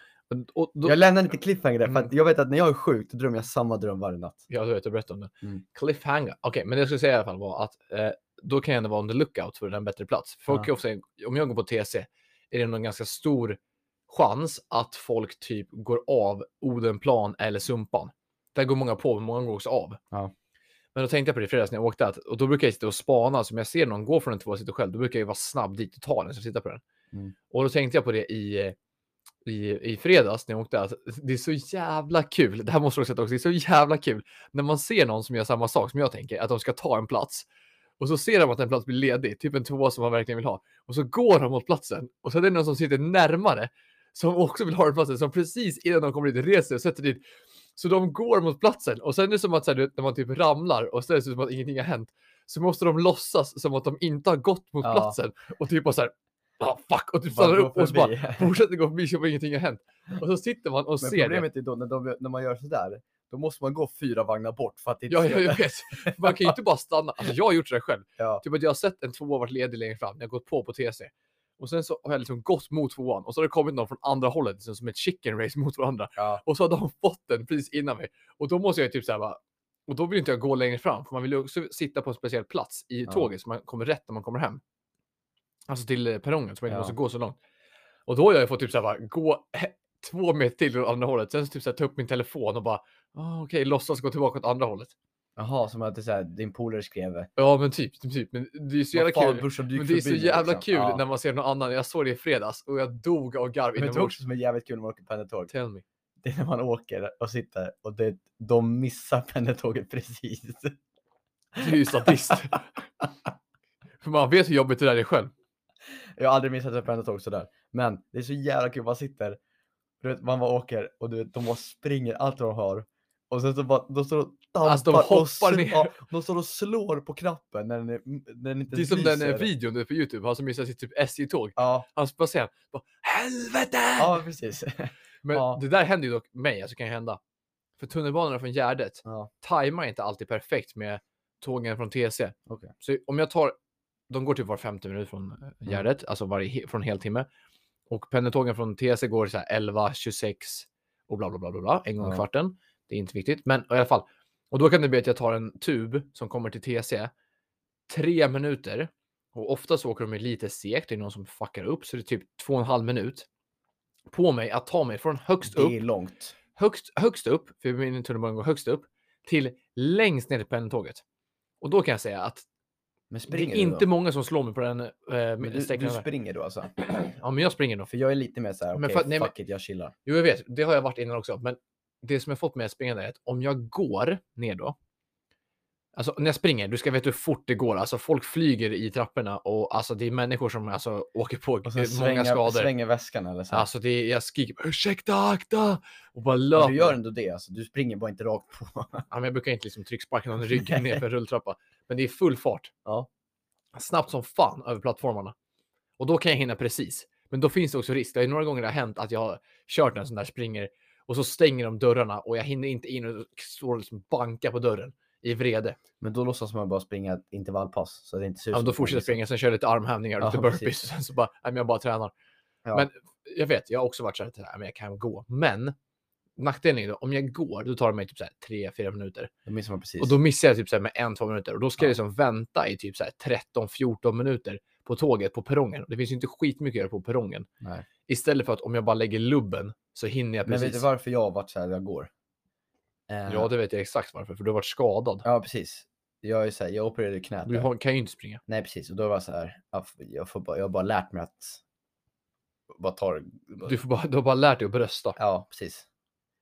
Och, och då,
Jag lämnar lite cliffhanger där, för
Mm.
att jag vet att när jag är sjuk då drömmer jag samma dröm varje natt.
Jag vet, jag berättade om det.
Mm.
Cliffhanger. Okej, men det jag skulle säga i alla fall var att eh, då kan jag ändå vara on the lookout för en bättre plats. Folk
Ja.
är ofta, om jag går på TC är det nog en ganska stor chans att folk typ går av Odenplan eller Sumpan. Där går många på, men många går också av.
Ja.
Men då tänkte jag på det i fredags när jag åkte, att, och då brukar jag sitta och spana. Så om jag ser någon gå från en tvåa och sitta själv, då brukar jag vara snabb dit och ta den, så jag tittar på den.
Mm.
Och då tänkte jag på det i, eh, i, i fredags när jag åkte, att det är så jävla kul. Det här måste du också sätta också, det är så jävla kul när man ser någon som gör samma sak som jag tänker, att de ska ta en plats. Och så ser de att en plats blir ledig, typ en tvåa som man verkligen vill ha. Och så går de mot platsen och så är det någon som sitter närmare som också vill ha den platsen, som precis innan de kommer dit reser sig och sätter dit. Så de går mot platsen och sen är det som att så här, du vet, när man typ ramlar och så är det som att ingenting har hänt så måste de låtsas som att de inte har gått mot
Ja.
platsen och typ bara så här, ah, fuck, och typ stannar
Bara gå
upp och så bara
(laughs) förbi.
fortsätter gå förbi som om ingenting har hänt. Och så sitter man och
Men
ser det.
problemet är då när, de, när man gör sådär, då måste man gå fyra vagnar bort för att inte
Ja,
se
ja, jag
det.
vet. Man kan ju inte bara stanna. Alltså, jag har gjort det där själv.
Ja.
Typ att jag har sett en tvåa varit ledig längre fram. Jag har gått på på TC. Och sen så har jag liksom gått mot tvåan och så har det kommit någon från andra hållet liksom, som ett chicken race (laughs) mot varandra.
Ja.
Och så har de fått den precis innan mig. Och då måste jag ju typ så här bara, och då vill inte jag gå längre fram för man vill ju också sitta på en speciell plats i
Ja.
tåget så man kommer rätt när man kommer hem. Alltså till eh, perrongen så man inte
Ja.
måste gå så långt. Och då har jag ju fått typ så här bara gå eh, två meter till åt andra hållet. Sen så typ så här ta upp min telefon och bara, ah, okej, låtsas gå tillbaka åt andra hållet.
Jaha, som att det är så här, din polare skrev. "Vad
Ja, men typ, typ, typ. Men det är ju så jävla
fan,
kul.
brorsan, du gick
Men det är så
förbi mig",
jävla
liksom.
kul
Ja.
när man ser någon annan. Jag såg det i fredags och jag dog av garv
Men det är
inombords.
också som är jävligt kul när man åker pendeltåg.
Tell me.
Det är när man åker och sitter och det, de missar pendeltåget (laughs) precis.
Du är ju
(laughs)
sadist. För man vet hur jobbigt det där är själv.
Jag har aldrig missat ett pendeltåg sådär. Men det är så jävla kul, man sitter, du vet, man bara åker och du vet, de bara springer allt de har. Och sen så bara, de står och dampar
Alltså, de
och
hoppar
sl-
ner.
ja, de står och slår på knappen när den, är, när den
Det
inte
är
ens
som den eh,
lyser.
videon nu på Youtube, han som missar sitt typ SJ-tåg.
Ja,
Han bara säger bara, helvete!
ja precis.
Men
ja.
det där händer ju dock mig, alltså kan ju hända. För tunnelbanorna från Gärdet
Ja.
tajmar inte alltid perfekt med tågen från TC.
Okej. Mm.
Så om jag tar, de går typ var 50 minut från eh, Gärdet, alltså varje, he- från heltimme. Och pendeltågen från TC går så här 11, 26 och bla bla bla bla, bla en gång i
Ja.
kvarten. Det är inte viktigt, men i alla fall. Och då kan det bli att jag tar en tub som kommer till TC, tre minuter. Och ofta så åker de ju lite segt, det är någon som fuckar upp, så det är typ två och en halv minut på mig att ta mig från högst
Det
upp
är långt.
högst, högst upp, för min tunnelbana går högst upp, till längst ner i pendeltåget. Och då kan jag säga att
Men
det är
springer
inte
du då?
många som slår mig på den eh,
Men du,
sträckan
du
där.
springer då alltså?
Ja, men jag springer nog.
För jag är lite mer så här,
Men
okej,
för att- nej, men-
fuck it, jag chillar.
Jo, jag vet, det har jag varit innan också, men det som jag fått med att springa där är att om jag går ner då, alltså när jag springer, du ska veta hur fort det går, alltså folk flyger i trapporna och alltså det är människor som alltså åker på
Och
eh,
sen
många
svänger,
skador.
svänger väskan eller så. här.
Alltså det är, jag skriker ursäkta, akta! Och bara löper.
Men du gör ändå det, alltså. du springer bara inte rakt på.
Ja, men jag brukar inte liksom trycksparka någon i ryggen
Nej.
ner för en rulltrappa. Men det är full fart.
Ja.
Snabbt som fan över plattformarna. Och då kan jag hinna precis. Men då finns det också risk. Det har ju några gånger det har hänt att jag har kört en sån där springer och så stänger de dörrarna och jag hinner inte in och står och liksom bankar på dörren i vrede.
Men då låtsas man bara springa ett intervallpass. Så det inte ser ut
Ja, men
som
då
att man
fortsätter jag
liksom-
springa, sen kör jag lite armhävningar och
Ja,
lite
precis.
burpees. Sen så bara, nej, men jag bara tränar.
Ja.
Men jag vet, jag har också varit så här, nej, men jag kan gå. Men nackdelen är ju då, om jag går, då tar det mig typ så här 3-4 minuter.
Då missar man precis.
Och då missar jag typ så här med en, två minuter. Och då ska
Ja.
jag liksom vänta i typ så här 13, 14 minuter på tåget på perrongen. Och Det finns ju inte skitmycket att göra på perrongen.
Nej.
Istället för att om jag bara lägger lubben så hinner jag
Men vet du
precis.
varför jag har varit så här jag går? Eh,
Ja, det vet jag exakt varför. För du har varit skadad.
ja, precis. Jag, är så här, jag opererade knät.
Du
där.
har, kan ju inte springa.
Nej, precis. Och då var jag så här, jag, f- jag, får bara, jag har bara lärt mig att bara ta det.
Du, får bara, du har bara lärt dig att brösta.
Ja, precis.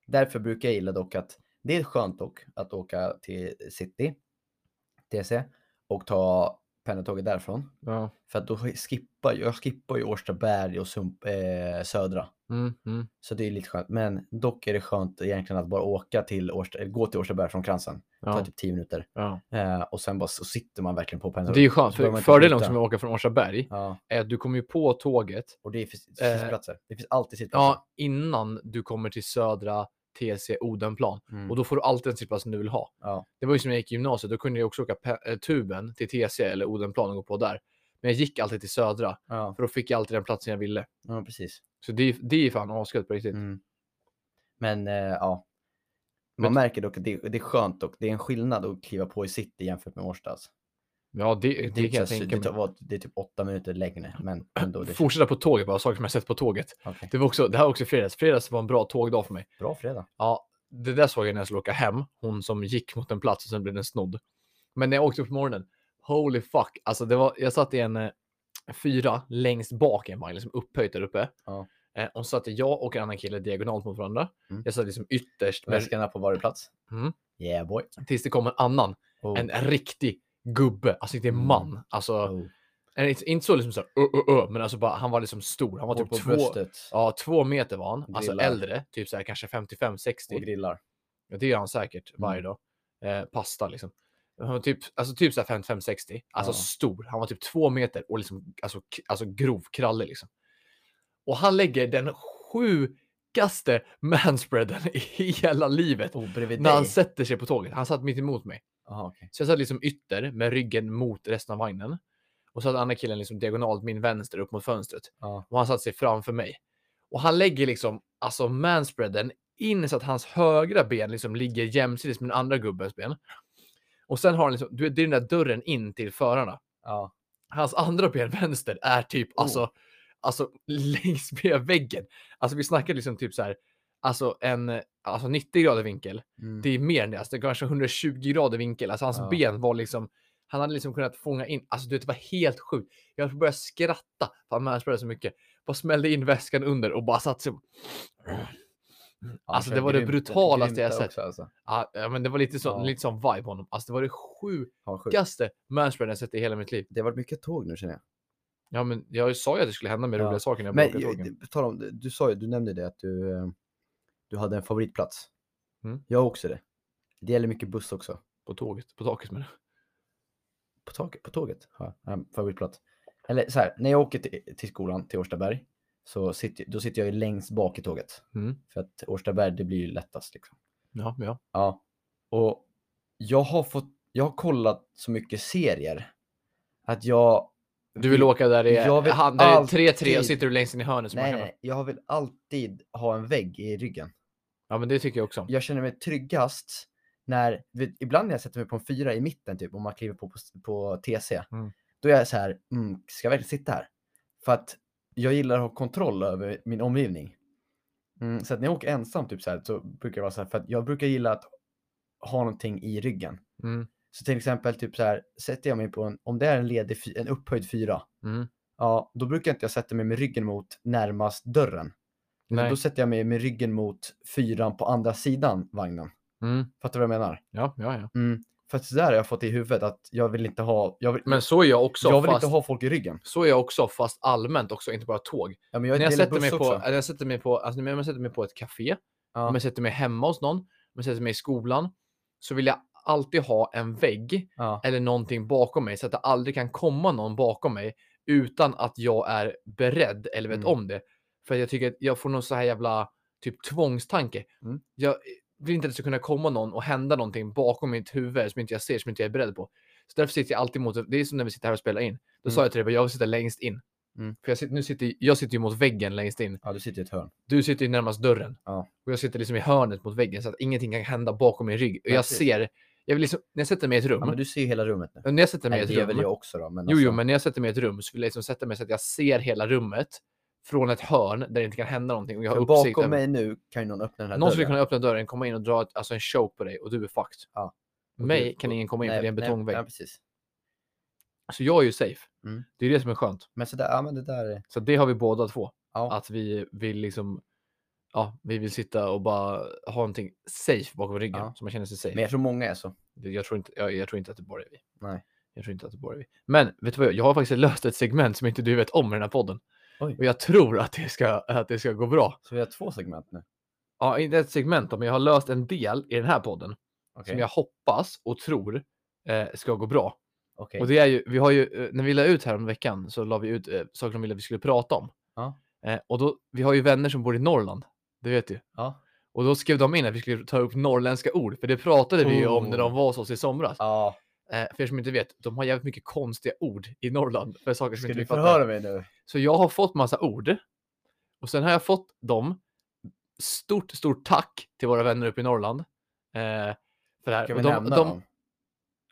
Därför brukar jag gilla dock att det är skönt dock att åka till city, TC, och ta pendeltåget därifrån.
Ja.
För att då skippar jag skippar ju Årstaberg och Sump, eh, Södra.
Mm, mm.
Så det är lite skönt. Men dock är det skönt egentligen att bara åka till Årsta, eller gå till Årstaberg från Kransen. Det tar
ja.
typ 10 minuter.
ja.
Eh, och sen bara så sitter man verkligen på pendeltåget.
Det är ju skönt.
Så Alltså, behöver man
För
inte
fördelen
byta.
också med att åka från Årstaberg
Ja,
är att du kommer ju på tåget
och det finns det
Eh,
finns sittplatser. Det finns alltid sittplatser.
ja, innan du kommer till södra TC Odenplan.
Mm.
Och då får du alltid en sittplats som du vill ha.
Ja.
Det var ju som när jag gick i gymnasiet, då kunde jag också åka pe- eh, tuben till TC eller Odenplan och gå på där. Men jag gick alltid till södra,
ja,
för då fick jag alltid den platsen jag ville.
ja, precis.
Så det, är- det är fan asgött på riktigt.
Mm. Men eh, ja. Man
Men-
märker dock att det, det är skönt och det är en skillnad att kliva på i city jämfört med Årsta. alltså.
Ja, det, det,
Det, är
kan jag
så här-
tänka
det, tar-
mig.
var- det är typ åtta minuter längre, men ändå. Det,
Fortsätta på tåget bara, saker som jag sett på tåget.
Okej.
Det, var också, det här var också i fredags. Fredags var en bra tågdag för mig.
Bra fredag.
Ja, det där såg jag när jag skulle åka hem. Hon som gick mot en plats och sen blev den snodd. Men när jag åkte upp på morgonen, holy fuck. Alltså det var, jag satt i en eh, fyra längst bak i en vagn, liksom upphöjt där uppe.
Ja.
Eh, och så satt jag och en annan kille diagonalt mot varandra.
Mm.
Jag satt liksom ytterst med,
Väskarna på varje plats.
Mm.
Yeah boy.
tills det kom en annan,
Oh,
en riktig gubbe, alltså inte en
Mm.
man. Alltså,
oh.
eh, inte- inte så liksom så här, ö, ö, ö, men alltså bara, han var liksom stor. Han var
Hår
typ
på
två,
bröstet
ja, två meter var han, alltså
Grillar.
äldre, typ så här kanske 55-60.
och grillar.
Ja, det gör han säkert varje dag. Eh, pasta liksom. Han var typ, alltså typ så här 55-60. Alltså
Ja.
stor. Han var typ två meter och liksom, alltså, k- alltså grov kralle liksom. Och han lägger den sju sjukaste manspreaden (laughs) i hela livet.
Oh, bredvid
När
dig?
han sätter sig på tåget. Han satt mitt emot mig.
Jaha, okej.
Så jag satt liksom ytter med ryggen mot resten av vagnen. Och så hade andra killen liksom diagonalt min vänster upp mot fönstret.
Ja.
Och han satte sig framför mig. Och han lägger liksom, alltså manspreaden in så att hans högra ben liksom ligger jämsides med den andra gubbens ben. Och sen har han liksom, du vet, det är den där dörren in till förarna.
ja.
Hans andra ben (laughs) vänster är typ
Oh.
alltså, alltså längs med väggen. Alltså vi snackar liksom typ så här, alltså en eh, alltså 90 grader vinkel.
Mm.
Det är mer än det, alltså det är kanske 120 grader vinkel. Alltså hans
Ja.
ben var liksom, han hade liksom kunnat fånga in, alltså du vet, det var helt sjukt. Jag började skratta för han manspreadade så mycket. Bara smällde in väskan under och bara satt sig.
Ja,
alltså,
kör
det var det
grymt-
brutalaste
grymt
jag
där
sett.
också, Alltså.
Ja, ja, men det var lite sån,
Ja.
lite sån vibe på honom. Alltså det var det
Ja, sjukt.
sjukaste manspreaden jag sett i hela mitt liv.
Det har varit mycket tåg nu känner jag.
Ja, men jag sa ju att det skulle hända med
Ja.
roliga saker när jag
Men
började åka tågen.
ju- på tal om, det, du sa ju, du nämnde det att du, eh, du hade en favoritplats.
Mm.
Jag har också det. Det gäller mycket buss också.
På tåget, på taket men.
På, tåg, på tåget har jag en favoritplats. Eller så här, när jag åker till, till skolan, till Årstaberg, så sitter, då sitter jag ju längst bak i tåget.
Mm.
För att Årstaberg, det blir ju lättast liksom.
Ja, ja.
Ja. Och jag har fått, jag har kollat så mycket serier. Att jag...
Du vill åka där det
Jag
är
vet
han- där
alltid-
det är 3-3 och sitter du längst in i hörnet. som man
Nej,
kan-
nej, jag vill alltid ha en vägg i ryggen.
Ja, men det tycker jag också om.
Jag känner mig tryggast när, du vet, ibland när jag sätter mig på en fyra i mitten typ, och man kliver på på, s- på TC.
Mm.
Då är jag så här, mm, ska jag verkligen sitta här? För att jag gillar att ha kontroll över min omgivning. Mm, så att när jag åker ensam typ så här, så brukar jag vara så här, för att jag brukar gilla att ha någonting i ryggen.
Mm.
Så till exempel typ så här, sätter jag mig på en, om det är en ledig, fy- en upphöjd fyra,
Mm.
ja, då brukar inte jag sätta mig med ryggen mot närmast dörren. Nej.
Nej.
Då sätter jag mig med ryggen mot fyran på andra sidan vagnen.
Mm.
Fattar du vad jag menar?
Ja, ja, ja.
Mm. För att sådär har jag fått i huvudet att jag vill inte ha, jag vill,
Men så är jag också.
jag vill
fast...
inte ha folk i ryggen.
Så är jag också, fast allmänt också, inte bara tåg.
Ja, men
När jag
det gäller
sätter mig
buss
på,
också.
när jag sätter mig på, alltså, när jag sätter mig på ett café,
ja.
om jag sätter mig hemma hos någon, om jag sätter mig i skolan, så vill jag alltid ha en vägg
ja.
eller någonting bakom mig så att det aldrig kan komma någon bakom mig utan att jag är beredd eller vet
Mm.
om det. För jag tycker att jag får någon så här jävla typ tvångstanke.
Mm.
Jag vill inte att det ska kunna komma någon och hända någonting bakom mitt huvud som inte jag ser, som inte jag är beredd på. Så därför sitter jag alltid mot, det är som när vi sitter här och spelar in. Då sa
Mm.
jag till dig, jag vill sitta längst in.
Mm.
För jag sitter, nu sitter, jag sitter ju mot väggen längst in.
ja, du sitter i ett hörn.
Du sitter ju närmast dörren.
Ja.
Och jag sitter liksom i hörnet mot väggen så att ingenting kan hända bakom min rygg. Och
Nej,
jag
precis.
ser, jag vill liksom, när jag sätter mig i ett rum.
Ja, men du ser ju hela rummet nu.
När jag sätter mig i
Nej,
ett
det
rum.
gör väl jag också då. Men
Jo, jo,
alltså-
men när jag sätter mig i ett rum så vill jag liksom sätta mig så att jag ser hela rummet från ett hörn där det inte kan hända någonting. Och jag har
För
uppsikt
bakom
över-
mig nu kan ju någon öppna den här
Någon
dörren.
skulle kunna öppna dörren, komma in och dra ett, alltså en choke på dig och du är fucked.
Ja. Och
Mig
du-
kan
och-
ingen komma in för det är en
nej,
betongvägg.
Nej, ja, precis.
Så jag är ju safe.
Mm.
Det är det som är skönt.
Men sådär, ja men det där är...
Så det har vi båda två.
Ja.
Att vi vill liksom, ja, vi vill sitta och bara ha någonting safe bakom ryggen.
Ja.
Så man känner sig safe.
Men jag tror många är så.
Det- Jag tror, inte, jag, jag tror inte att det bara är vi.
Nej.
Jag tror inte att det bara är vi. Men vet du vad, jag, jag har faktiskt löst ett segment som inte du vet om i den här podden.
Oj.
Och jag tror att det ska, att det ska gå bra.
Så vi har två segment nu.
Ja, inte ett segment då, men jag har löst en del i den här podden
Okej.
som jag hoppas och tror eh, ska gå bra.
Okej.
Och det är ju, vi har ju, eh, när vi la ut här om veckan så la vi ut eh, saker som vi ville att vi skulle prata om.
Ja.
Eh, och då, vi har ju vänner som bor i Norrland, det vet du.
Ja.
Och då skrev de in att vi skulle ta upp norrländska ord, för det pratade vi ju om när de
Oh.
var hos oss i somras.
ja.
Eh, för er som inte vet, de har jävligt mycket konstiga ord i Norrland för saker som
Ska
inte vi
du
fattar.
förhöra mig nu?
Så jag har fått massa ord och sen har jag fått dem. Stort, stort tack till våra vänner uppe i Norrland. Eh, för det här.
Ska
Och
vi
de,
nämna
de,
dem?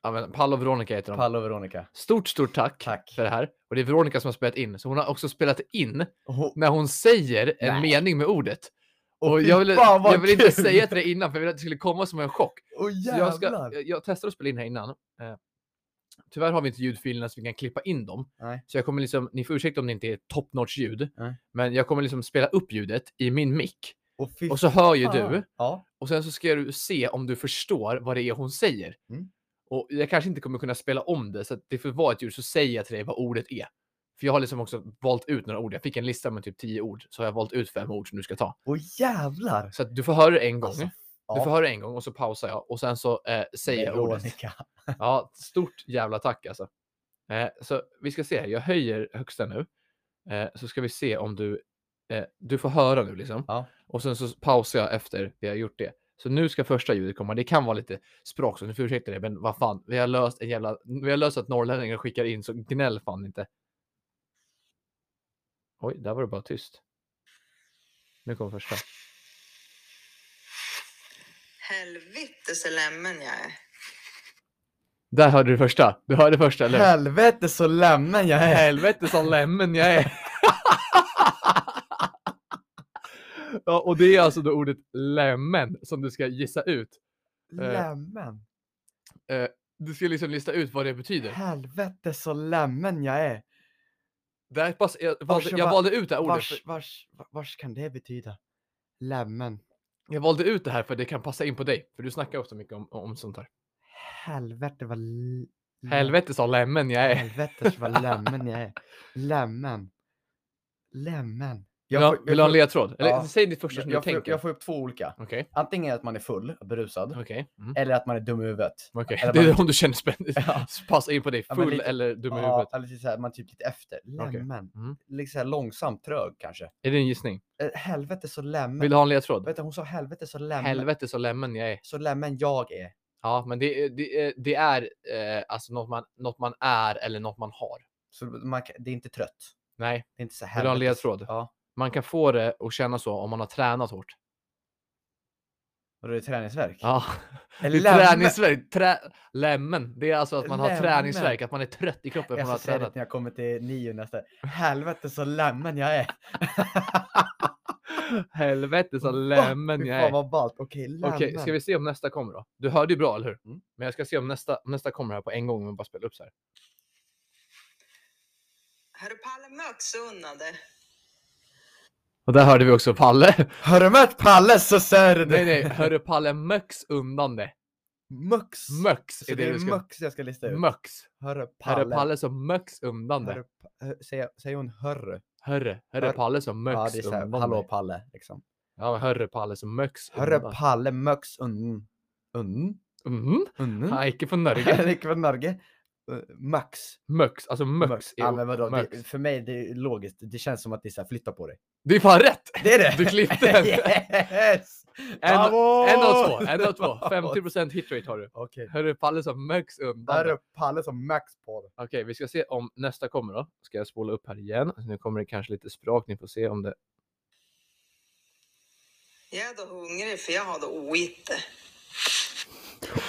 Ja, men Palle och Veronica heter de.
Palle och Veronica.
Stort, stort tack,
Tack.
för det här. Och det är Veronica som har spelat in, så hon har också spelat in
Oh,
när hon säger en
Nej.
mening med ordet. Och,
fy
jag ville,
fan, vad
jag ville inte
kul!
säga till dig innan, för jag ville att det skulle komma som en chock.
oh
Så jag, ska, jag, jag testar att spela in här innan. Eh, tyvärr har vi inte ljudfilerna så vi kan klippa in dem.
Nej.
Så jag kommer liksom, ni får ursäkta om det inte är top notch ljud.
Nej.
Men jag kommer liksom spela upp ljudet i min mick.
Och, fy
Och så hör ju
fan.
du.
Ja.
Och sen så ska du se om du förstår vad det är hon säger.
Mm.
Och jag kanske inte kommer kunna spela om det, så att det får vara ett ljud, så säger jag till dig vad ordet är. För jag har liksom också valt ut några ord. Jag fick en lista med typ tio ord, så har jag valt ut fem ord som du ska ta.
Åh jävlar.
Så att du får höra det en gång.
Alltså,
Du
ja.
får höra det en gång och så pausar jag och sen så eh, säger jag ordet.
Veronica.
Ja, stort jävla tack alltså. Eh, så vi ska se, här. jag höjer högsta nu. Eh, så ska vi se om du, eh, du får höra nu liksom.
Ja.
Och sen så pausar jag efter vi har gjort det. Så nu ska första ljudet komma. Det kan vara lite språk, så ni får ursäkta det, men vad fan, vi har löst en jävla... Vi har löst att norrlänningar skickar in, så gnäll fan inte. Oj, där var det bara tyst. Nu kommer första.
Helvete så lämmen jag är.
Där hörde du första. Du hörde första, eller hur?
Helvete så lämmen jag är.
Helvete som lämmen jag är. (laughs) ja, och det är alltså då ordet lämmen som du ska gissa ut.
Lämmen.
Eh, Du ska liksom lista ut vad det betyder.
Helvete så lämmen jag är.
Där pass, jag, valde,
Varför
jag
va-
valde ut det här ordet.
Vars, vars, va- vars kan det betyda? Lämmen.
Jag valde ut det här för att det kan passa in på dig. För du snackar ofta mycket om, om sånt här.
Helvete vad... l- lä-
Helvete sa lämmen jag är.
Helvete så vad lämmen jag är. Lämmen. Lämmen.
Vill du ha- vill du ha en ledtråd? Eller
Ja.
säg ditt första
jag,
som
jag,
du
får,
tänker.
jag får upp två olika.
Okej,
Antingen att man är full, berusad.
okej. mm,
Eller att man är dum
(laughs)
i huvudet.
okej.
eller
Det
man-
är om du känner spänning.
Ja.
(laughs) Passa in på dig.
Ja, men
Full
lite-
eller dum i
Ja,
huvudet.
eller lite så här, man är typ lite efter. Lämmen.
Mm.
Lite så här långsamt trög kanske.
Är det en gissning?
Eh, Helvete så lämmen.
Vill du ha en ledtråd?
Vet du, hon sa helvete så lämmen.
Helvete så lämmen jag är.
Så lämmen jag är.
Ja, men det, är- det, är- det är eh, alltså något man, något man är eller något man har.
Så man, kan- det är inte trött.
Nej,
Det är inte så här.
vill du ha en
helvete så-
ledtråd?
Ja.
Man kan få det att känna så om man har tränat hårt.
Och det är träningsverk.
Ja, (laughs) det
Eller
är
lämmen.
träningsvärk. Trä... Lämmen. Det är alltså att man har
Lämmen.
träningsvärk, att man är trött i kroppen för
Jag
att man
ska
har
säga det
tränat.
när jag kommer till nio nästa. Helvete så lämmen jag är.
(laughs) Helvete så lämmen
Fy
jag
Fan
är.
vad ballt. Okej, lämmen.
Okej, ska vi se om nästa kommer då? Du hörde ju bra, eller hur?
Mm.
Men jag ska se om nästa, om nästa kommer här på en gång, om jag bara spelar upp så här.
Har du Palme också unnade?
Och där hörde vi också Palle.
Har du mött Palle så ser
(laughs)
du.
nej, nej, hörde Palle möx undan det.
Mux.
Möx
Så det är mux jag ska lista ut.
Möx.
Hörru
Herre
Palle.
Palle som möx undan det.
Hörru Pa- hö- Säger, säger hon hörru?
Herre, herre
Hör-
Palle som möx
Ja, det är så här,
undan
hallå
det.
Palle. Liksom.
Ja, men herre Palle som möx
Hörru
undan.
Palle mux undan. Undan?
Mm,
Undan?
han gick från
(laughs)
Norge.
Henrik från Norge. Eh, Max.
Möx, alltså möx.
Ja,
är
men vadå? Det,
möx.
för mig det är logiskt. Det känns som att det är så här, flytta på dig.
Det är fan rätt!
Det är det!
Du klippte
(laughs)
den.
yes!
En,
Bravo!
en av två, en av
(laughs)
två. 50% hitrate har du.
Okej.
Herre Palle som möx undan
Där
det.
är Palle som max på det.
Okej, vi ska se om nästa kommer då. Ska jag spola upp här igen. Alltså, Nu kommer det kanske lite språk, ni får se
(laughs)
om det...
Jag är då hungrig för jag har då oitte.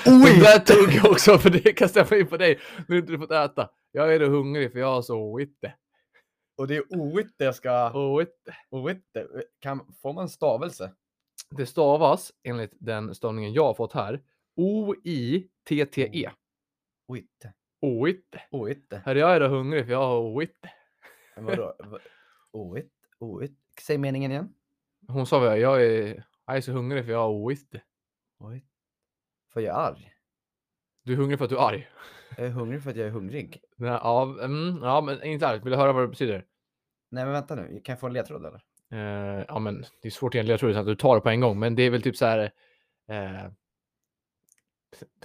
Det där tog jag också, för det kan stämma in på dig. Nu har inte du fått äta. Jag är då hungrig för jag har så oitte.
Och det är oitte jag ska...
Oitte.
Oitte? Kan, får man stavelse?
Det stavas enligt den stavningen jag har fått här. O-I-T-T-E.
Oitte.
Oitte.
E. Oitte.
E. Här jag är då hungrig för jag har oitte.
Men Vadå? Va- Oitte? Oitte? Säg meningen igen.
Hon sa väl jag är, jag är så hungrig för jag har oitte.
Oitte. För jag är arg.
Du är hungrig för att du är arg.
Jag är hungrig för att jag är hungrig.
Nej, ja, mm, ja, men inte arg. Vill du höra vad det betyder?
Nej men vänta nu, kan jag få en ledtråd eller?
Eh, ja, men det är svårt egentligen. Jag tror det är så att du tar det på en gång, men det är väl typ så här. Eh, (laughs)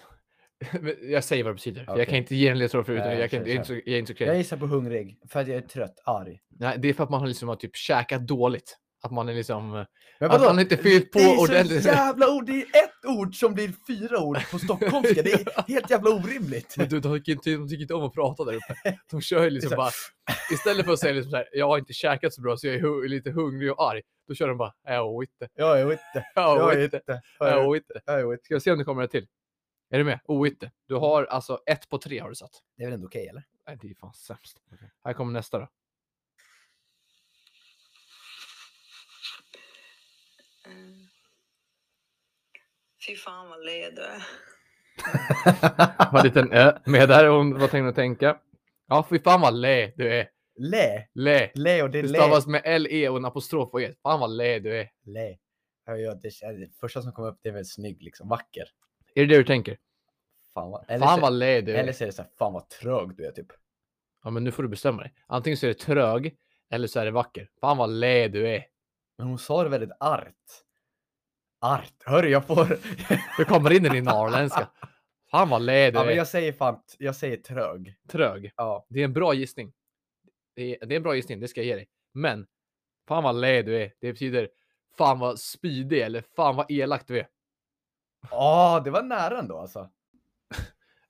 jag säger vad det betyder. för Jag kan
Okej.
inte ge en ledtråd förut.
Nej,
Jag, kan,
kör,
jag, är inte så,
kör.
jag är inte så
Jag gissar på hungrig, för att jag är trött, arg.
Nej, det är för att man har liksom har typ käkat dåligt. Att man är liksom... eh,
Men
Att man inte fyllt på
det är
ordentligt.
så jävla ord, det är ett ord som blir fyra ord på stockholmska,
(laughs)
det är helt jävla orimligt.
Men du, de tycker inte, de tycker inte om att prata där uppe. De kör ju liksom bara, istället för att säga liksom så här, jag har inte käkat så bra så jag är hu- lite hungrig och arg. Då kör de bara, "Äh, jag (laughs) inte,
Jag är oitte, jag
jag
är
inte,
oitte, jag är
jag inte.
oitte.
"Äh, Ska vi se om det kommer ett till? Är du med? Oitte. Du har alltså ett på tre har du satt.
Det är väl ändå okej eller? (laughs)
Nej, det är fan sämst. Här kommer nästa då.
Mm. Fy fan vad led du är.
Har en liten ö med där. Hon var tvungen att tänka. Ja, fy fan vad lä du är.
Lä,
Lä.
lä och det är
Det
lä.
stavas med L-E och en apostrof på E. Fan vad lä du är.
lä. Ja, ja, det, kän- det första som kom upp det är väl snygg liksom, vacker.
Är det det du tänker?
Fan vad,
fan
så-
vad lä du är.
eller så är det såhär, fan vad trög du är typ.
Ja, men nu får du bestämma dig. Antingen så är det trög eller så är det vacker. Fan vad lä du är.
Men hon sa det väldigt art. Art, hörru jag
(laughs)
får...
Du kommer in i din norrländska. Fan vad lä du
ja,
är.
men jag säger fan, jag säger trög.
Trög.
Ja.
Det är en bra gissning. Det är, det är en bra gissning, det ska jag ge dig. Men fan vad lä du är. Det betyder Fan vad spydig eller fan vad elak du är.
Ja, det var nära ändå alltså.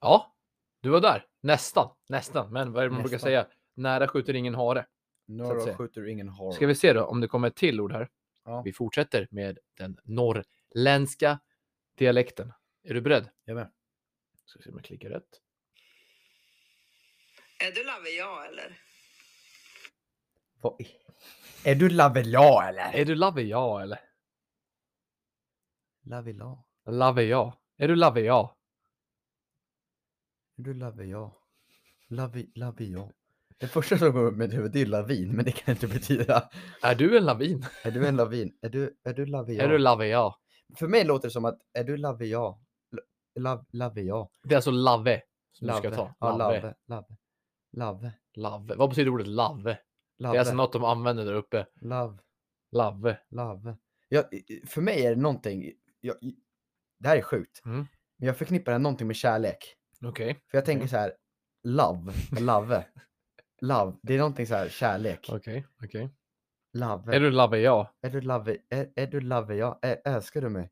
Ja, du var där. Nästan, nästan. Men vad är det man brukar
Nästan.
säga? Nära skjuter ingen hare.
Norra
säga.
skjuter ingen har.
Ska vi se då om det kommer ett till ord här.
Ja.
Vi fortsätter med den norrländska dialekten. Är du beredd?
Jag med.
Ska se om jag klickar rätt.
Är du Lavia eller?
Vad i- Är du lavela
Är
eller?
du lavia eller?
Lavela.
Lavia. Är du lavia?
Är du lavea? Lavi, lavia. Det första som går upp i mitt huvud det är lavin, men det kan inte betyda.
Är du en
(laughs)
lavin?
Är du en lavin? Är du, är du lavia?
Är du lavia?
För mig låter det som att, är du lavia? La, lavia.
Det är alltså lave som
Lave.
du ska ta.
Ja,
Lave.
lave. Lave. Lave.
Lave. Vad betyder ordet lave? Det är alltså
Lave.
något de använder där uppe.
Lave.
Lave.
Love. Jag, i- i- för mig är det någonting, jag, i- det här är sjukt,
Mm.
men jag förknippar det någonting med kärlek.
Okej.
För jag tänker
Okej.
så här, love,
(laughs)
love, love, det är någonting så här, kärlek,
Okej. Okej.
love.
Är du lavia?
är du love, är, är du love, ja, Ä- älskar du mig?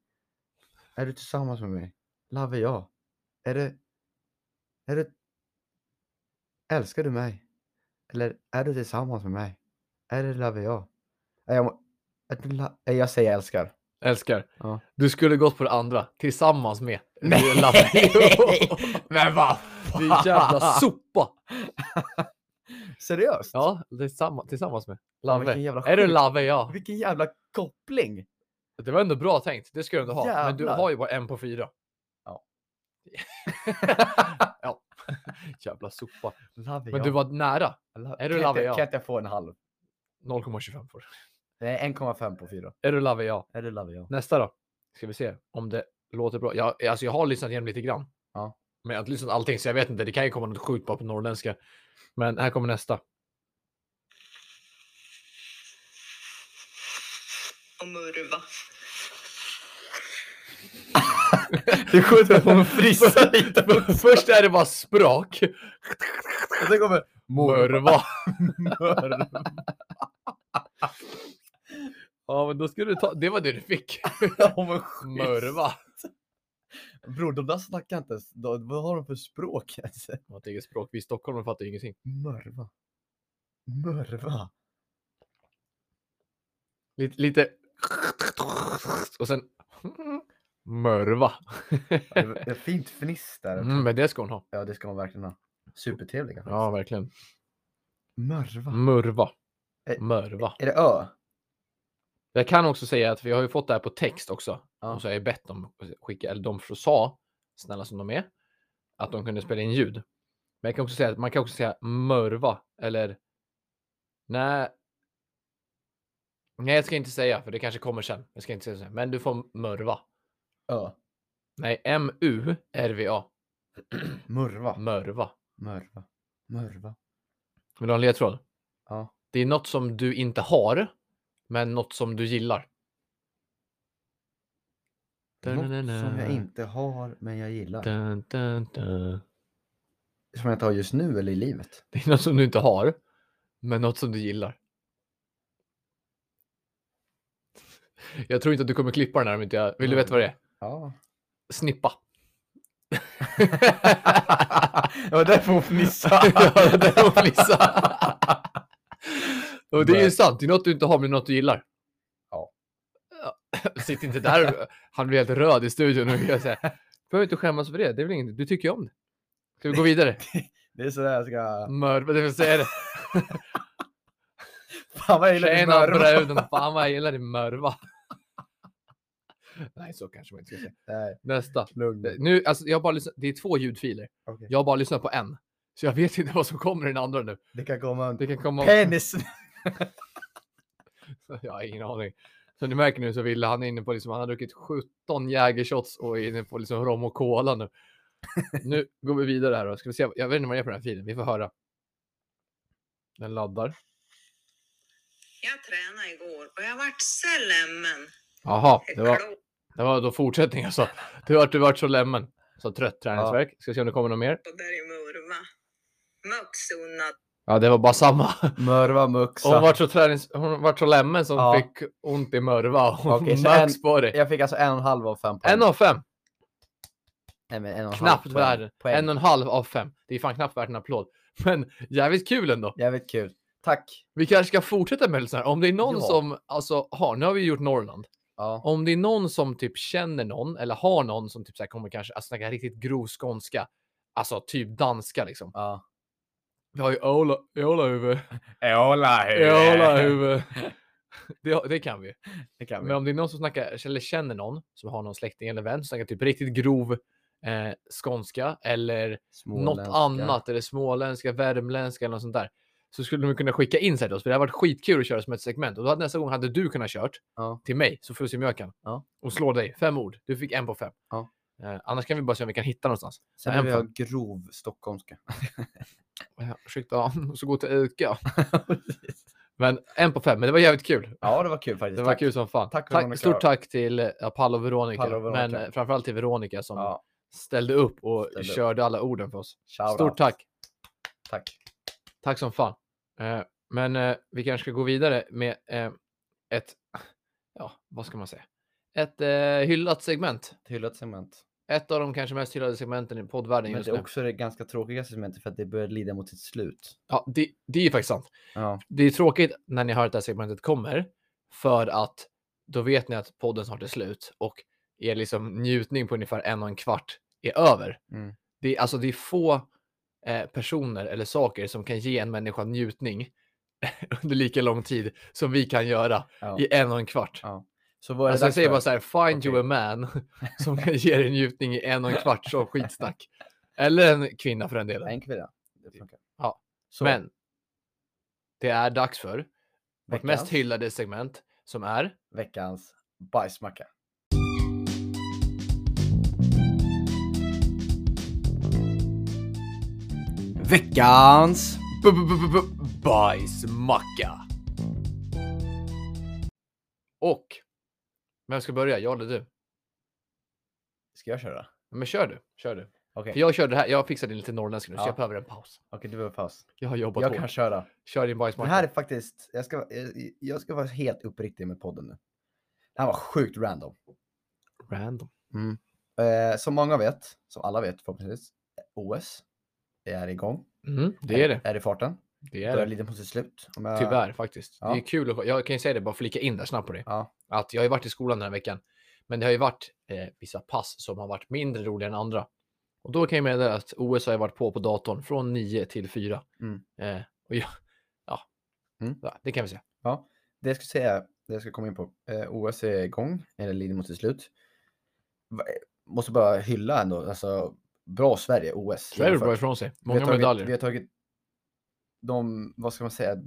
Är du tillsammans med mig? Love, ja. Är du, är du, älskar du mig? Eller är du tillsammans med mig? Är du love, ja? Är jag, må- är du, la- är jag säger älskar.
Älskar.
Ja.
Du skulle gått på det andra. Tillsammans med.
(laughs) Nej!
Du är (laughs) lavia.
(laughs) Men vad
Din jävla sopa.
Seriöst?
Ja, tillsammans, tillsammans med.
Fan,
Lave.
vilken jävla
Är du
sjuk-
lave? Ja.
Vilken jävla koppling!
Det var ändå bra tänkt. Det ska du ändå ha. Men du
Jävlar.
har ju bara en på fyra. (laughs)
Ja.
ja. (laughs) Jävla sopa.
Love
Men du var nära. är du
kan,
love,
inte,
ja?
kan inte jag få en halv?
0,25 får du.
Nej, 1,5 på 4.
Är du lave? Ja.
Är det love ja?
Nästa då. Ska vi se om det låter bra. Jag, alltså jag har lyssnat igenom lite grann.
Ja.
Men jag har inte lyssnat allting så jag vet inte. Det kan ju komma något sjukt bara på norrländska. Men här kommer nästa.
Och murva.
Du skjuter på en (laughs) frissa lite
(laughs)
på
(laughs) Först är det bara språk.
och sen kommer (laughs)
Murva.
mörv.
(laughs) Ja, men då ska du ta. Det var det du (laughs) fick. Murva.
Bror, de där snackar inte ens. De- Vad har de för språk (laughs) ens?
Vårt eget språk. Vi i Stockholm fattar ju ingenting.
Mörva. Mörva.
Lite, lite. (laughs) Och sen. (laughs) Mörva.
Ja, det är fint fniss där.
Mm, men det ska hon ha.
Ja, det ska man verkligen ha. Supertrevliga.
Ja, Mm. verkligen.
Mörva.
Murva.
Eh,
Mörva.
Är det ö?
Jag kan också säga att vi har ju fått det här på text också.
Ja.
Och så har jag bett dem att skicka, eller de sa, snälla som de är, att de kunde spela in ljud. Men jag kan också säga att man kan också säga mörva eller nej. Nej, jag ska inte säga för det kanske kommer sen. Jag ska inte säga så. här, Men du får mörva.
Ö.
Nej, M U R V A. Mm.
Murva.
Mörva.
Mörva. Mörva.
Vill du ha en ledtråd?
Ja.
Det är något som du inte har, men något som du gillar.
Något som jag inte har, men jag gillar.
Dun, dun, dun.
Som jag inte har just nu eller i livet.
Det är något som du inte har, men något som du gillar. Jag tror inte att du kommer klippa den här om inte jag... Vill du veta vad det är?
Ja.
Snippa.
(laughs) Det var därför hon (laughs) fnissade.
ja, det där var flissa. (laughs) Och det är ju sant. Det är något du inte har, men något du gillar.
Ja.
Ja, (laughs) Sitt inte där. Han blir helt röd i studion. Och jag säger, behöver inte skämmas för det. Det är väl inget. Du tycker ju om det. Ska vi gå (laughs) vidare?
Det är sådär jag ska...
Mörva, det vill säga det.
Fan vad jag gillar din
Tjena
mörva.
bruden, fan vad jag gillar din mörva. Nej, så kanske man inte ska säga.
Nej,
Nästa.
lugn.
Nu, alltså, jag har bara lyssnat, det är två ljudfiler.
Okej.
Jag har bara lyssnat på en. Så jag vet inte vad som kommer i den andra nu.
Det kan komma en
Det kan komma... (laughs)
penis.
Jag har ingen aning. Så ni märker nu så ville han är inne på liksom, han har druckit 17 jägershots och är inne på liksom rom och cola nu. Nu går vi vidare här då. Ska vi se, jag vet inte vad det är på den här filen, vi får höra. Den laddar.
Jag tränade igår och jag vart så lämmen.
Jaha, det var...
Klok.
Det var då fortsättning alltså. Du vart, du vart så lämmen. Så trött träningsverk. Ska se om det kommer något mer.
Och där är murva. Möksunnad.
Ja, det var bara samma.
Mörva, muxa.
Hon vart så, tränings... hon vart så lämmen som
Ja.
fick ont i mörva. och
Okej, så
max
en-
på det.
Jag fick alltså en och en halv av fem poäng.
En av fem.
Nej, men en och en
Knappt
halv poäng.
värd.
Poäng.
En och en halv av fem. Det är fan knappt värt en applåd. Men jävligt kul ändå.
Jävligt kul. Tack.
Vi kanske ska fortsätta med sådär. Om det är någon
Ja.
som alltså har, nu har vi gjort Norrland.
Ja.
Om det är någon som typ känner någon eller har någon som typ så här kommer kanske att snacka riktigt grov skånska. Alltså typ danska liksom.
Ja.
Vi har ju Ola, Ola huvud.
Eola
Ola huvud. (laughs) Det, det kan vi ju.
Det kan vi.
Men om det är någon som snackar, eller känner någon som har någon släkting eller vän som snackar typ riktigt grov eh, skånska eller något
Småländska.
annat eller småländska, värmländska eller något sånt där. Så skulle de kunna skicka in sig till oss, för det hade varit skitkul att köra som ett segment. Och då hade, nästa gång hade du kunnat kört
Ja.
till mig, så får vi se om jag kan.
Ja.
Och slå dig, fem ord. Du fick en på fem.
Ja.
Eh, annars kan vi bara se om vi kan hitta någonstans.
Sen
Ja,
vill
en
vi ha grov
(laughs)
stockholmska.
Eh, Ursäkta, och (laughs) så gå till Ica. men en på fem, men det var jävligt kul.
Ja, det var kul faktiskt.
Det var
Tack.
kul som fan.
Tack, Veronica.
stort tack till eh, ja, Palle och Veronica,
Palle och Veronica.
men eh, framförallt till Veronica som
Ja,
ställde upp och
Ställde upp.
körde alla orden för oss.
shout
Stort
out.
tack.
Tack.
Tack som fan. Eh, men eh, vi kanske ska gå vidare med eh, ett, ja, vad ska man säga? Ett eh, hyllat segment.
Ett hyllat segment.
Ett av de kanske mest hyllade segmenten i poddvärlden
Men
just
det
nu.
är också det ganska tråkiga segmentet för att det börjar lida mot sitt slut.
Ja, det, det är ju faktiskt sant.
Ja.
Det är tråkigt när ni hör att det här segmentet kommer för att då vet ni att podden snart är slut och er liksom njutning på ungefär en och en kvart är över.
Mm.
Det är alltså det är få eh, personer eller saker som kan ge en människa njutning (laughs) under lika lång tid som vi kan göra
ja.
i en och en kvart.
Ja, Så vad är
Alltså
det
jag säger bara
dags
så här, find you
Okej.
a man (laughs) som kan ge dig njutning i en och en kvart som skitsnack. Eller en kvinna för den
för?
delen.
En kvinna. Det funkar.
Ja.
Så,
Men det är dags för vårt mest
veckans,
hyllade segment som är
veckans bajsmacka. Veckans!
b- b- b- b- bajsmacka. Och vem ska börja? Jag eller du?
Ska jag köra?
Men kör du, kör du.
Okej,
För jag körde här, jag fixade in lite norrländska nu så
Ja.
jag behöver en paus.
Okej, du behöver paus.
Jag har jobbat
Jag
hårt.
kan köra.
Kör din
Den
bajsmacka.
här är faktiskt, jag ska, jag- jag ska vara helt uppriktig med podden nu. Den här var sjukt random.
Random.
Eh, som många vet, som alla vet förhoppningsvis, OS är igång.
Mm, det är det.
Är i farten.
det, är
Börjar
det.
lite på sitt slut. om jag-
Tyvärr faktiskt. Det
Eh, Ja.
är kul att, jag kan ju säga det, bara flika in där snabbt på det.
Ja.
Att jag har ju varit i skolan den här veckan. Men det har ju varit eh, vissa pass som har varit mindre roliga än andra. Och då kan jag meddela att OS har jag varit på på datorn från 9 till 4.
Mm.
Eh, och jag, ja.
Mm.
ja, det kan vi säga.
Det jag skulle säga, det jag ska komma in på. Eh, OS är igång, eller lider mot sitt slut. Va- eh, Måste bara hylla ändå, alltså bra Sverige, OS.
Sverige
genomfört.
bra ifrån sig.
vi
Många
har tagit,
medaljer.
vi har tagit de, vad ska man säga, eh,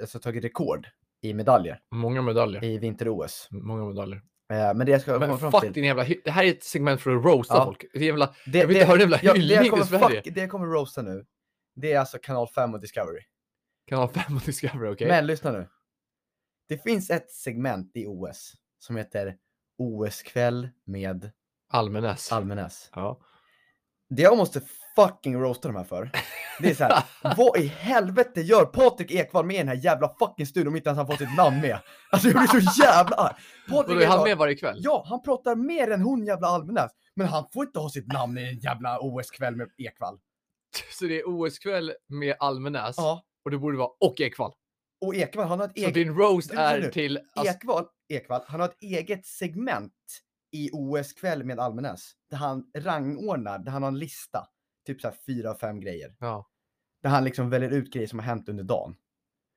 alltså tagit rekord i medaljer
Många medaljer.
i vinter-OS.
Många medaljer.
Eh, men det jag ska komma
Men
fram
fuck
till.
din jävla... hy- Det här är ett segment för att roasta
Ja.
folk. Det är jävla...
Det,
Jag vill inte höra jävla
ja, det, jag
hyllning
kommer,
till Sverige.
fuck, det jag kommer roasta nu, det är alltså kanal 5 och Discovery.
Kanal 5 och Discovery, okej?
Men lyssna nu. Det finns ett segment i OS som heter OS-kväll med
Almenäs.
Almenäs.
ja.
Det jag måste fucking roasta de här för, det är
(laughs)
så här, vad i helvete gör Patrik Ekwall med i den här jävla fucking studion om inte ens han fått sitt namn med? Alltså jag blir så jävla arg.
Och
Patrik
då är han
Ekwall,
med varje kväll?
ja han pratar mer än hon jävla Almenäs, men han får inte ha sitt namn i en jävla OS-kväll med Ekwall.
(laughs) Så det är OS-kväll med Almenäs
Ja,
och det borde vara och Ekvall.
och Ekwall han har ett
Så
eget
din roast
lyssna
är
nu.
till... Alltså,
Ekvall, Ekvall, han har ett eget segment i OS-kväll med Almenäs. Där han rangordnar, där han har en lista. Typ så här fyra, fem grejer.
ja.
Där han liksom väljer ut grejer som har hänt under dagen.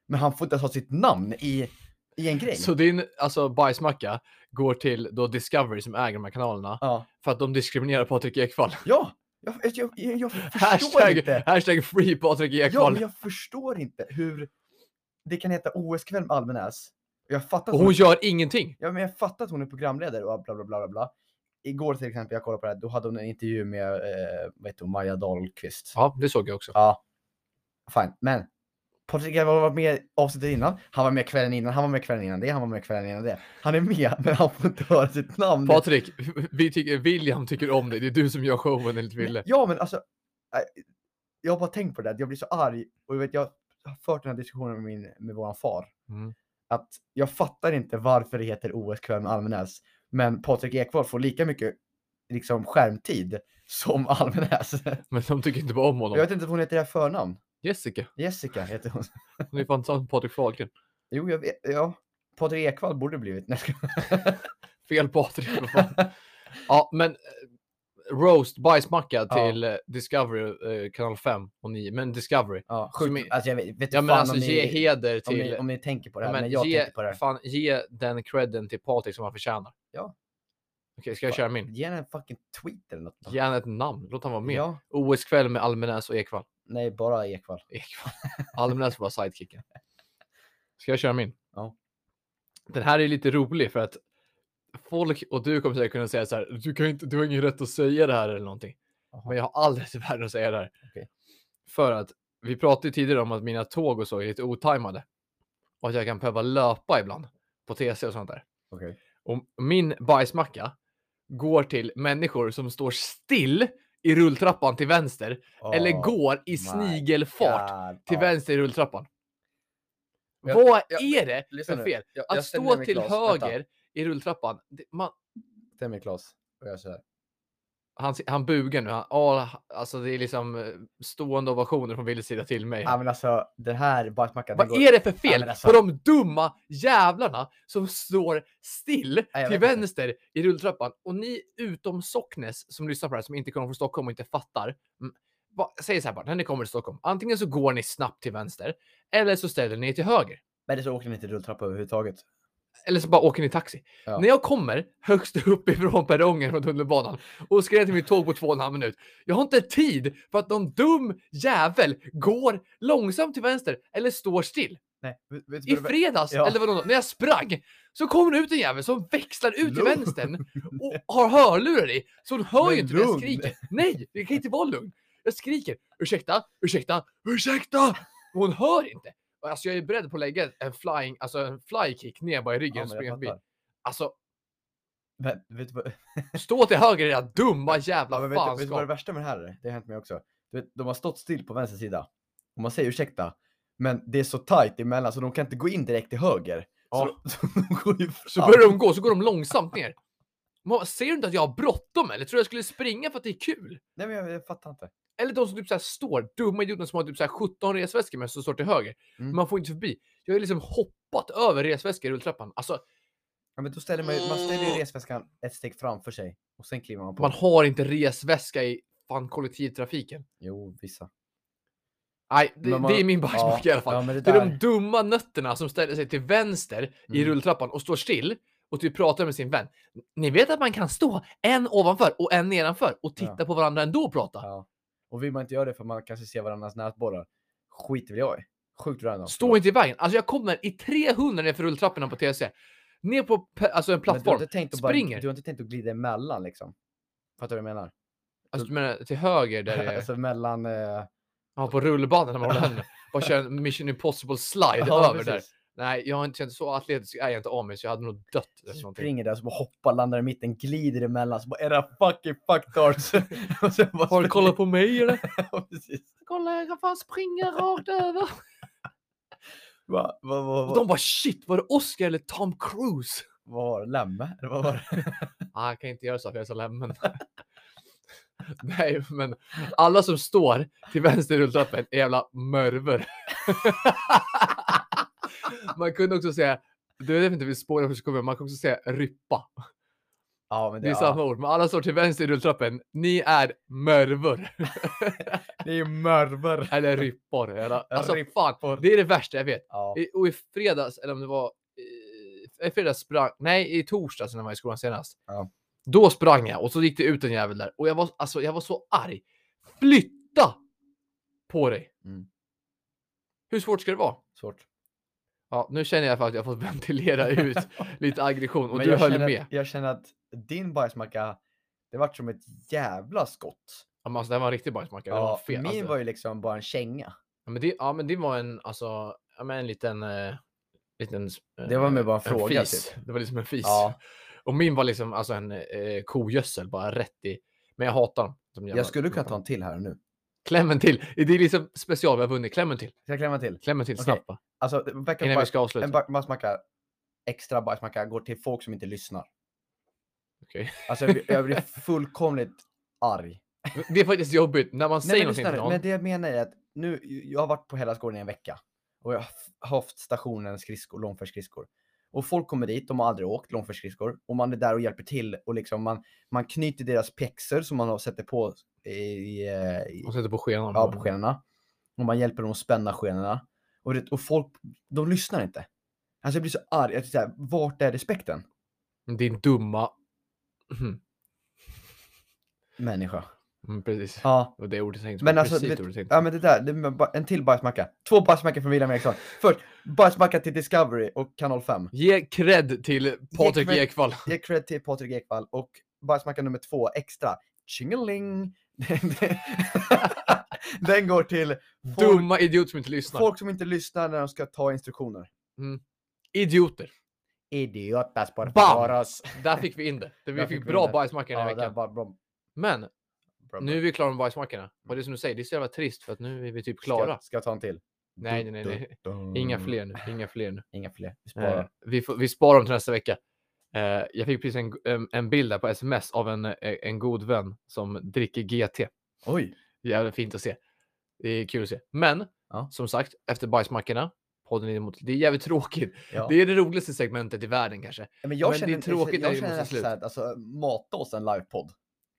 Men han får inte ens ha sitt namn i, i en grej.
Så din alltså, bajsmacka går till då Discovery som äger de här kanalerna
Ja,
för att de diskriminerar Patrik Ekwall.
ja jag, jag, jag,
(laughs)
jag förstår
Hashtag,
inte.
hashtag free Patrik
Ja,
Ekwall.
men jag förstår inte hur det kan heta OS-kväll med Almenäs. Jag fattar att
Och hon gör ingenting.
Ja, men jag fattar att hon är programledare och bla bla bla bla bla. Igår till exempel, jag kollade på det här, då hade hon en intervju med, eh, vad heter hon, Maja Dahlqvist.
Ja, det såg jag också.
Ja. Fine, men. Patrik Ekwall var med i avsnittet innan, han var med kvällen innan, han var med kvällen innan det, han var med kvällen innan det. Han är med, men han får inte höra sitt namn.
Patrik, vi tycker, William tycker om dig. Det är du som gör showen enligt Wille.
Ja, men alltså. eh, jag har bara tänkt på det där, att jag blir så arg och jag vet, jag har fört den här diskussionen med, min, med våran far.
Mm.
Att jag fattar inte varför det heter OS-kväll med Almenäs, men Patrik Ekwall får lika mycket liksom skärmtid som (laughs) Almenäs.
Men de tycker inte bara om
Jag
honom.
vet inte vad hon heter i det här förnamn.
Jessica,
Jessica heter hon.
hon är ju fan som Patrik Fahlgren.
Jo, jag vet. Ja. Patrik Ekwall borde det blivit. Nej, jag skojar.
Fel Patrik. vad fan. ja, men eh, roast bajsmacka
Ja.
till eh, Discovery, eh, kanal 5 och 9. Men Discovery.
(laughs) Ja,
Som
sjukt.
är-
Alltså, jag vet, vet
Ja,
du
men
fan
alltså
om,
ge
ni,
heder
om,
till...
ni, om ni tänker på det här,
men
men, jag
ge,
tänker på det här.
Fan, ge den credden till Patrik som han förtjänar.
Ja.
Okej, ska jag
Fan.
köra min?
Ge henne en fucking tweet eller något. då.
Ge han ett namn, låt han vara med.
Ja,
OS-kväll med Almenäs och Ekvall.
nej, bara Ekwall.
Ekvall. Almenäs var sidekicken. Ska jag köra min?
Ja.
Den här är lite rolig för att folk och du kommer säkert kunna säga så här, du, kan inte, du har ingen rätt att säga det här eller någonting.
Jaha.
Men jag har all rätt i världen att säga det här.
Okej.
För att vi pratade ju tidigare om att mina tåg och så är lite otajmade. Och att jag kan behöva löpa ibland på TC och sånt där.
Okej.
Och min bajsmacka går till människor som står still i rulltrappan till vänster eller
Åh,
går i
my
snigelfart
Ah, God.
till
Ja.
vänster i rulltrappan.
Jag-
Vad
jag-
är det
lyssna
för
nu.
fel?
Jag- jag
Att
ställer
stå
mig
till
Claes. Vänta.
höger i rulltrappan, det, man,
Ställ mig Claes och jag kör.
han, se- han bugar nu. Han, ah, alltså det är liksom eh, stående ovationer från Willys sida till mig.
Ja men alltså den här bajsmackan. den
Vad är det för fel
men alltså-
på de dumma jävlarna som står still
jag
till
vet inte.
vänster i rulltrappan? Och ni utom Socknes som lyssnar på det här, som inte kommer från Stockholm och inte fattar. mm, va- Säg så här bara, när ni kommer till Stockholm, antingen så går ni snabbt till vänster eller så ställer ni er till höger.
Men det så åker den inte rulltrappa överhuvudtaget.
Eller så bara åker ni taxi.
Ja.
När jag kommer högst uppifrån perrongen från tunnelbanan och ska ner till mitt tåg på två och en halv minut. Jag har inte tid för att någon dum jävel går långsamt till vänster eller står still.
Nej, vet, vet,
I fredags,
Ja.
eller vadå, när jag sprang, så kom det ut en jävel som växlar ut till
Lugn.
vänstern och har hörlurar i. Så hon hör
Men
ju inte när jag
lugn.
skriker. Nej, det kan inte vara lugn. Jag skriker ursäkta, ursäkta, ursäkta. Men hon hör inte. Alltså jag är beredd på att lägga en flying, alltså en fly kick ner bara i ryggen
ja,
och
men
springa
jag
förbi.
fattar.
Alltså
Men vet du vad,
stå till höger era dumma
ja,
jävla
men vet, du- vet du vad det
fanskap.
värsta med det här är? Det har hänt mig också. Du vet, de har stått still på vänster sida. Och man säger ursäkta. Men det är så tajt emellan så de kan inte gå in direkt till höger.
Ja.
Så, de- (laughs) så de går ju
Så
fram.
börjar de gå, så går de långsamt ner. Man, ser du inte att jag har bråttom eller? Tror du jag skulle springa för att det är kul?
Nej men jag, jag fattar inte.
Eller de som typ så här står, dumma idioterna som har typ så här 17 resväskor men som står till höger.
Mm.
Man får inte förbi. Jag har liksom hoppat över resväskor i rulltrappan. Alltså,
Ja, men då ställer man, ju- man ställer ju resväskan ett steg framför sig. Och sen kliver man på.
Mm. man har inte resväska i fan kollektivtrafiken.
Jo, vissa.
Nej, det,
Men man-
det är min bajsmacka i alla fall.
Ja, men det,
det
där.
är de dumma nötterna som ställer sig till vänster i
Mm.
rulltrappan och står still och typ pratar med sin vän. Ni vet att man kan stå en ovanför och en nedanför och titta på varandra ändå och prata.
Ja. Och vill man inte göra det för man kanske ser varandras nätborrar, skiter väl jag i. Sjukt random.
Stå inte i vägen. Alltså jag kommer i 300 nerför rulltrapporna på TC. Ner på pe- alltså en
Men Du har,
plattform.
inte tänkt att
Springer.
bara, du har inte tänkt att glida emellan liksom? Fattar du vad jag menar?
Alltså du menar till höger där det är...
alltså mellan... Eh...
Ja, på rullbandet när man håller händerna. Bara köra en Mission Impossible slide
(laughs) ja,
över där.
precis.
Nej, jag har inte känt så atletisk är jag inte av mig så jag hade nog dött.
Så
Eller någonting.
Springer där, så bara hoppar, landar i mitten, glider emellan, så bara era fucking fuck darts. (laughs) och sen bara
Har du kollat på mig
(laughs)
eller?
Ja, precis.
Kolla, jag kan fan springa rakt över.
Va, va, va,
Och
va,
de bara shit, var det Oscar eller Tom Cruise? (laughs)
Vad var det? Lämme? Eller vad var det?
Ah, jag kan inte göra så för jag är så lämmen. (laughs) Nej, men alla som står till vänster i rulltrappan är jävla (laughs) mörver. man kunde också säga, du vet jag inte vi spårar hur det kommer, man kan också säga ryppa.
Ja, men
Det är samma ord, men alla står till vänster i rulltrappen. Ni är mörvor.
det är ju mörver.
Eller ryppor. Eller, alltså
Ryppor.
fan, det är det värsta jag vet.
Ja.
I, och i fredags, eller om det var i, i fredags sprang, nej i torsdags när jag var i skolan senast.
Ja.
Då sprang jag och så gick det ut en jävel där och jag var, alltså, jag var så arg. Flytta på dig.
Mm.
Hur svårt ska det vara?
Svårt.
Ja, nu känner jag för att jag fått (laughs) ventilera
(laughs)
ut lite aggression och
Men
du
jag
höll
känner,
med.
Jag känner att din bajsmacka, det vart som ett jävla skott.
Ja, men alltså, det här var en riktig bajsmacka. det var
Ja,
fel.
min
alltså.
var ju liksom bara en känga.
Ja men, det, ja, men det var en, alltså, ja, men en liten... Eh, liten eh,
Det var med bara en
en
fråga, typ.
fis. Det var liksom en fis.
Ja.
Och min var liksom alltså en eh, kogödsel, bara rätt i. Men jag hatar dem. de jävla
Jag skulle kunna ta
roparna.
en till här nu.
Klämmen till. Det är liksom special vi har vunnit. Klämmen till.
Ska jag klämma till?
Klämmen till
Okej.
snabbt va?
Alltså, veckans
Innan vi
bajs,
ska
en
avsluta.
ba- bajsmacka, extra bajsmacka, går till folk som inte lyssnar.
Okej.
Alltså, jag blir-
(laughs)
jag blir fullkomligt arg.
Det är faktiskt jobbigt när man
Nej,
säger
men,
någonting
lyssna,
till
nu,
någon.
men det jag menar är att nu, jag har varit på Hellasgården i en vecka och jag har f- haft stationen skridskor, långfärdsskridskor. Och folk kommer dit, de har aldrig åkt långfärdsskridskor och man är där och hjälper till och liksom man, man knyter deras pexor som man har- sätter på i, i, eh, i
Och sätter på skenan.
ja, på skenorna. Och man hjälper dem att spänna skenorna. Och, det, och folk, de lyssnar inte. Alltså jag blir så arg, jag är så här, vart är respekten?
Mm, Din dumma...
Människa.
Mm, precis.
Ja,
Och det ordet tänkte
Men
på.
alltså,
precis
du vet-
ordet tänkte
ja men det där, det, men ba- en till bajsmacka. Två bajsmackor från William Eriksson. Först, bajsmacka till Discovery och Kanal 5.
Ge cred till Patrik
cred-
Ekwall.
Ge cred till Patrik Ekwall och bajsmacka nummer två, extra. Tjingeling! (laughs) Den går till folk,
Dumma idiot som inte lyssnar.
folk som inte lyssnar när de ska ta instruktioner.
Idioter.
Idiotas por
Bam!
favoras.
Där fick vi in det. Det- Vi
Där
fick
fick vi
bra
in det.
bajsmacka den här
Ja, där
veckan.
var bra,
Men
bra,
nu är vi klara med bajsmackorna. Och det är som du säger, det är så jävla trist för att nu är vi typ klara.
Ska, ska jag ta en till?
Nej, nej, nej, nej.
Mm.
Inga fler nu. Inga fler nu.
Inga fler. Vi sparar.
Eh, vi, får, vi sparar dem till nästa vecka. Eh, jag fick precis en, en, en bild där på sms av en, eh, en god vän som dricker GT.
Oj!
Jävligt fint att se. Det är kul att se. Men
Ja.
som sagt, efter bajsmackorna, podden är emot. Det är jävligt tråkigt.
Ja.
Det är det roligaste segmentet i världen kanske.
men jag
men det är
känner,
tråkigt när
jag
det
känner
måste
nästan så här, att, alltså, mata oss en livepodd.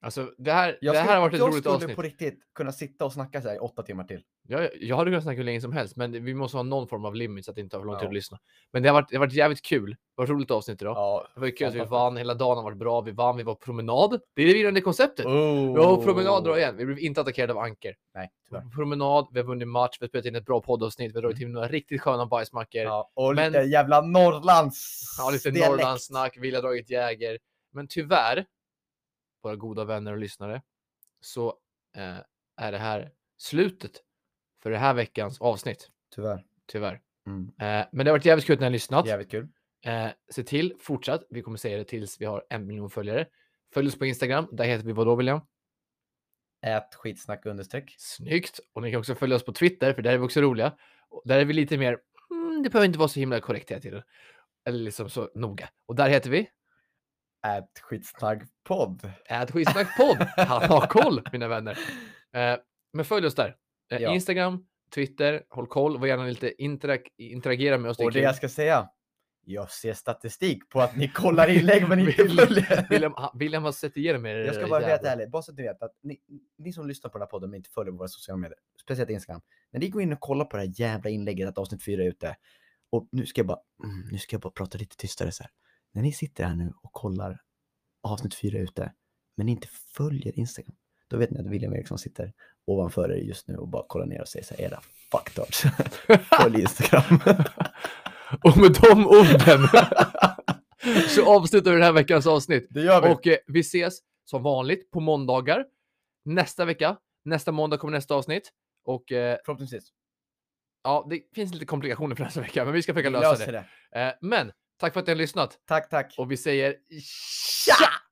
Alltså, det här, det
Jag
här
skulle-
har varit ett
jag
roligt
skulle
avsnitt.
på riktigt kunna sitta och snacka så här i åtta timmar till.
Jag, jag hade kunnat snacka hur länge som helst, men vi måste ha någon form av limit så att det inte tar för lång tid
Ja.
att lyssna. Men det har varit, det har varit jävligt kul. Det var ett roligt avsnitt idag.
Ja.
Det var ju kul att vi
fantastiskt.
vann. Hela dagen har varit bra. Vi vann. Vi var på promenad. Det är det vilande konceptet. Vi var på promenad dra igen. Vi blev inte attackerade av anker.
oh. Nej,
Vi var
tyvärr.
på promenad. Vi har vunnit match. Vi har spelat in ett bra poddavsnitt. Vi har dragit in några riktigt sköna bajsmackor. Ja,
Ja, och
Men-
lite jävla Norrlands
lite
dialekt.
Norrlandssnack. Vi har dragit Jäger. Men tyvärr, våra goda vänner och lyssnare, så eh, är det här slutet för det här veckans avsnitt.
Tyvärr.
Tyvärr.
Mm.
Eh, men det har varit jävligt kul att ni har lyssnat.
Jävligt kul.
Eh, se till, fortsatt, vi kommer säga det tills vi har en miljon följare. Följ oss på Instagram, där heter vi vadå William?
Ät skitsnack understreck.
Snyggt! Och ni kan också följa oss på Twitter, för där är vi också roliga. Och där är vi lite mer, mm, det behöver inte vara så himla korrekt hela tiden. Eller liksom så noga. Och där heter vi
Ät skitsnack podd.
Ät
(laughs)
skitsnackpodd. Han har koll, mina vänner. Eh, men följ oss där. Eh,
Ja.
Instagram, Twitter, håll koll. Var gärna lite interak- interagera med oss. är
Och det
kul.
jag ska säga. Jag ser statistik på att ni kollar
(laughs)
inlägg men inte
William-
följer.
William, han- William har sett igenom er.
Jag ska bara vara
Eh, jävlar.
helt ärlig, bara så att ni vet att ni, ni som lyssnar på den här podden men inte följer våra sociala medier, speciellt Instagram, när ni går in och kollar på det här jävla inlägget att avsnitt 4 är ute, och nu ska jag bara, mm, nu ska jag bara prata lite tystare så här. När ni sitter här nu och kollar avsnitt 4 är ute, men inte följer Instagram, då vet ni att William Eriksson sitter ovanför er just nu och bara kollar ner och säger så här, era fucktards, (laughs)
(laughs)
följ Instagram.
(laughs) Och med de orden så avslutar vi den här veckans avsnitt.
Det gör
Och eh, vi ses som vanligt på måndagar nästa vecka. Nästa måndag kommer nästa avsnitt. Och eh,
förhoppningsvis.
ja, det finns lite komplikationer för nästa vecka, men vi ska försöka
Vi
lösa
löser
det.
det.
Eh, men tack för att ni har lyssnat
Tack, tack.
och vi säger
Tja!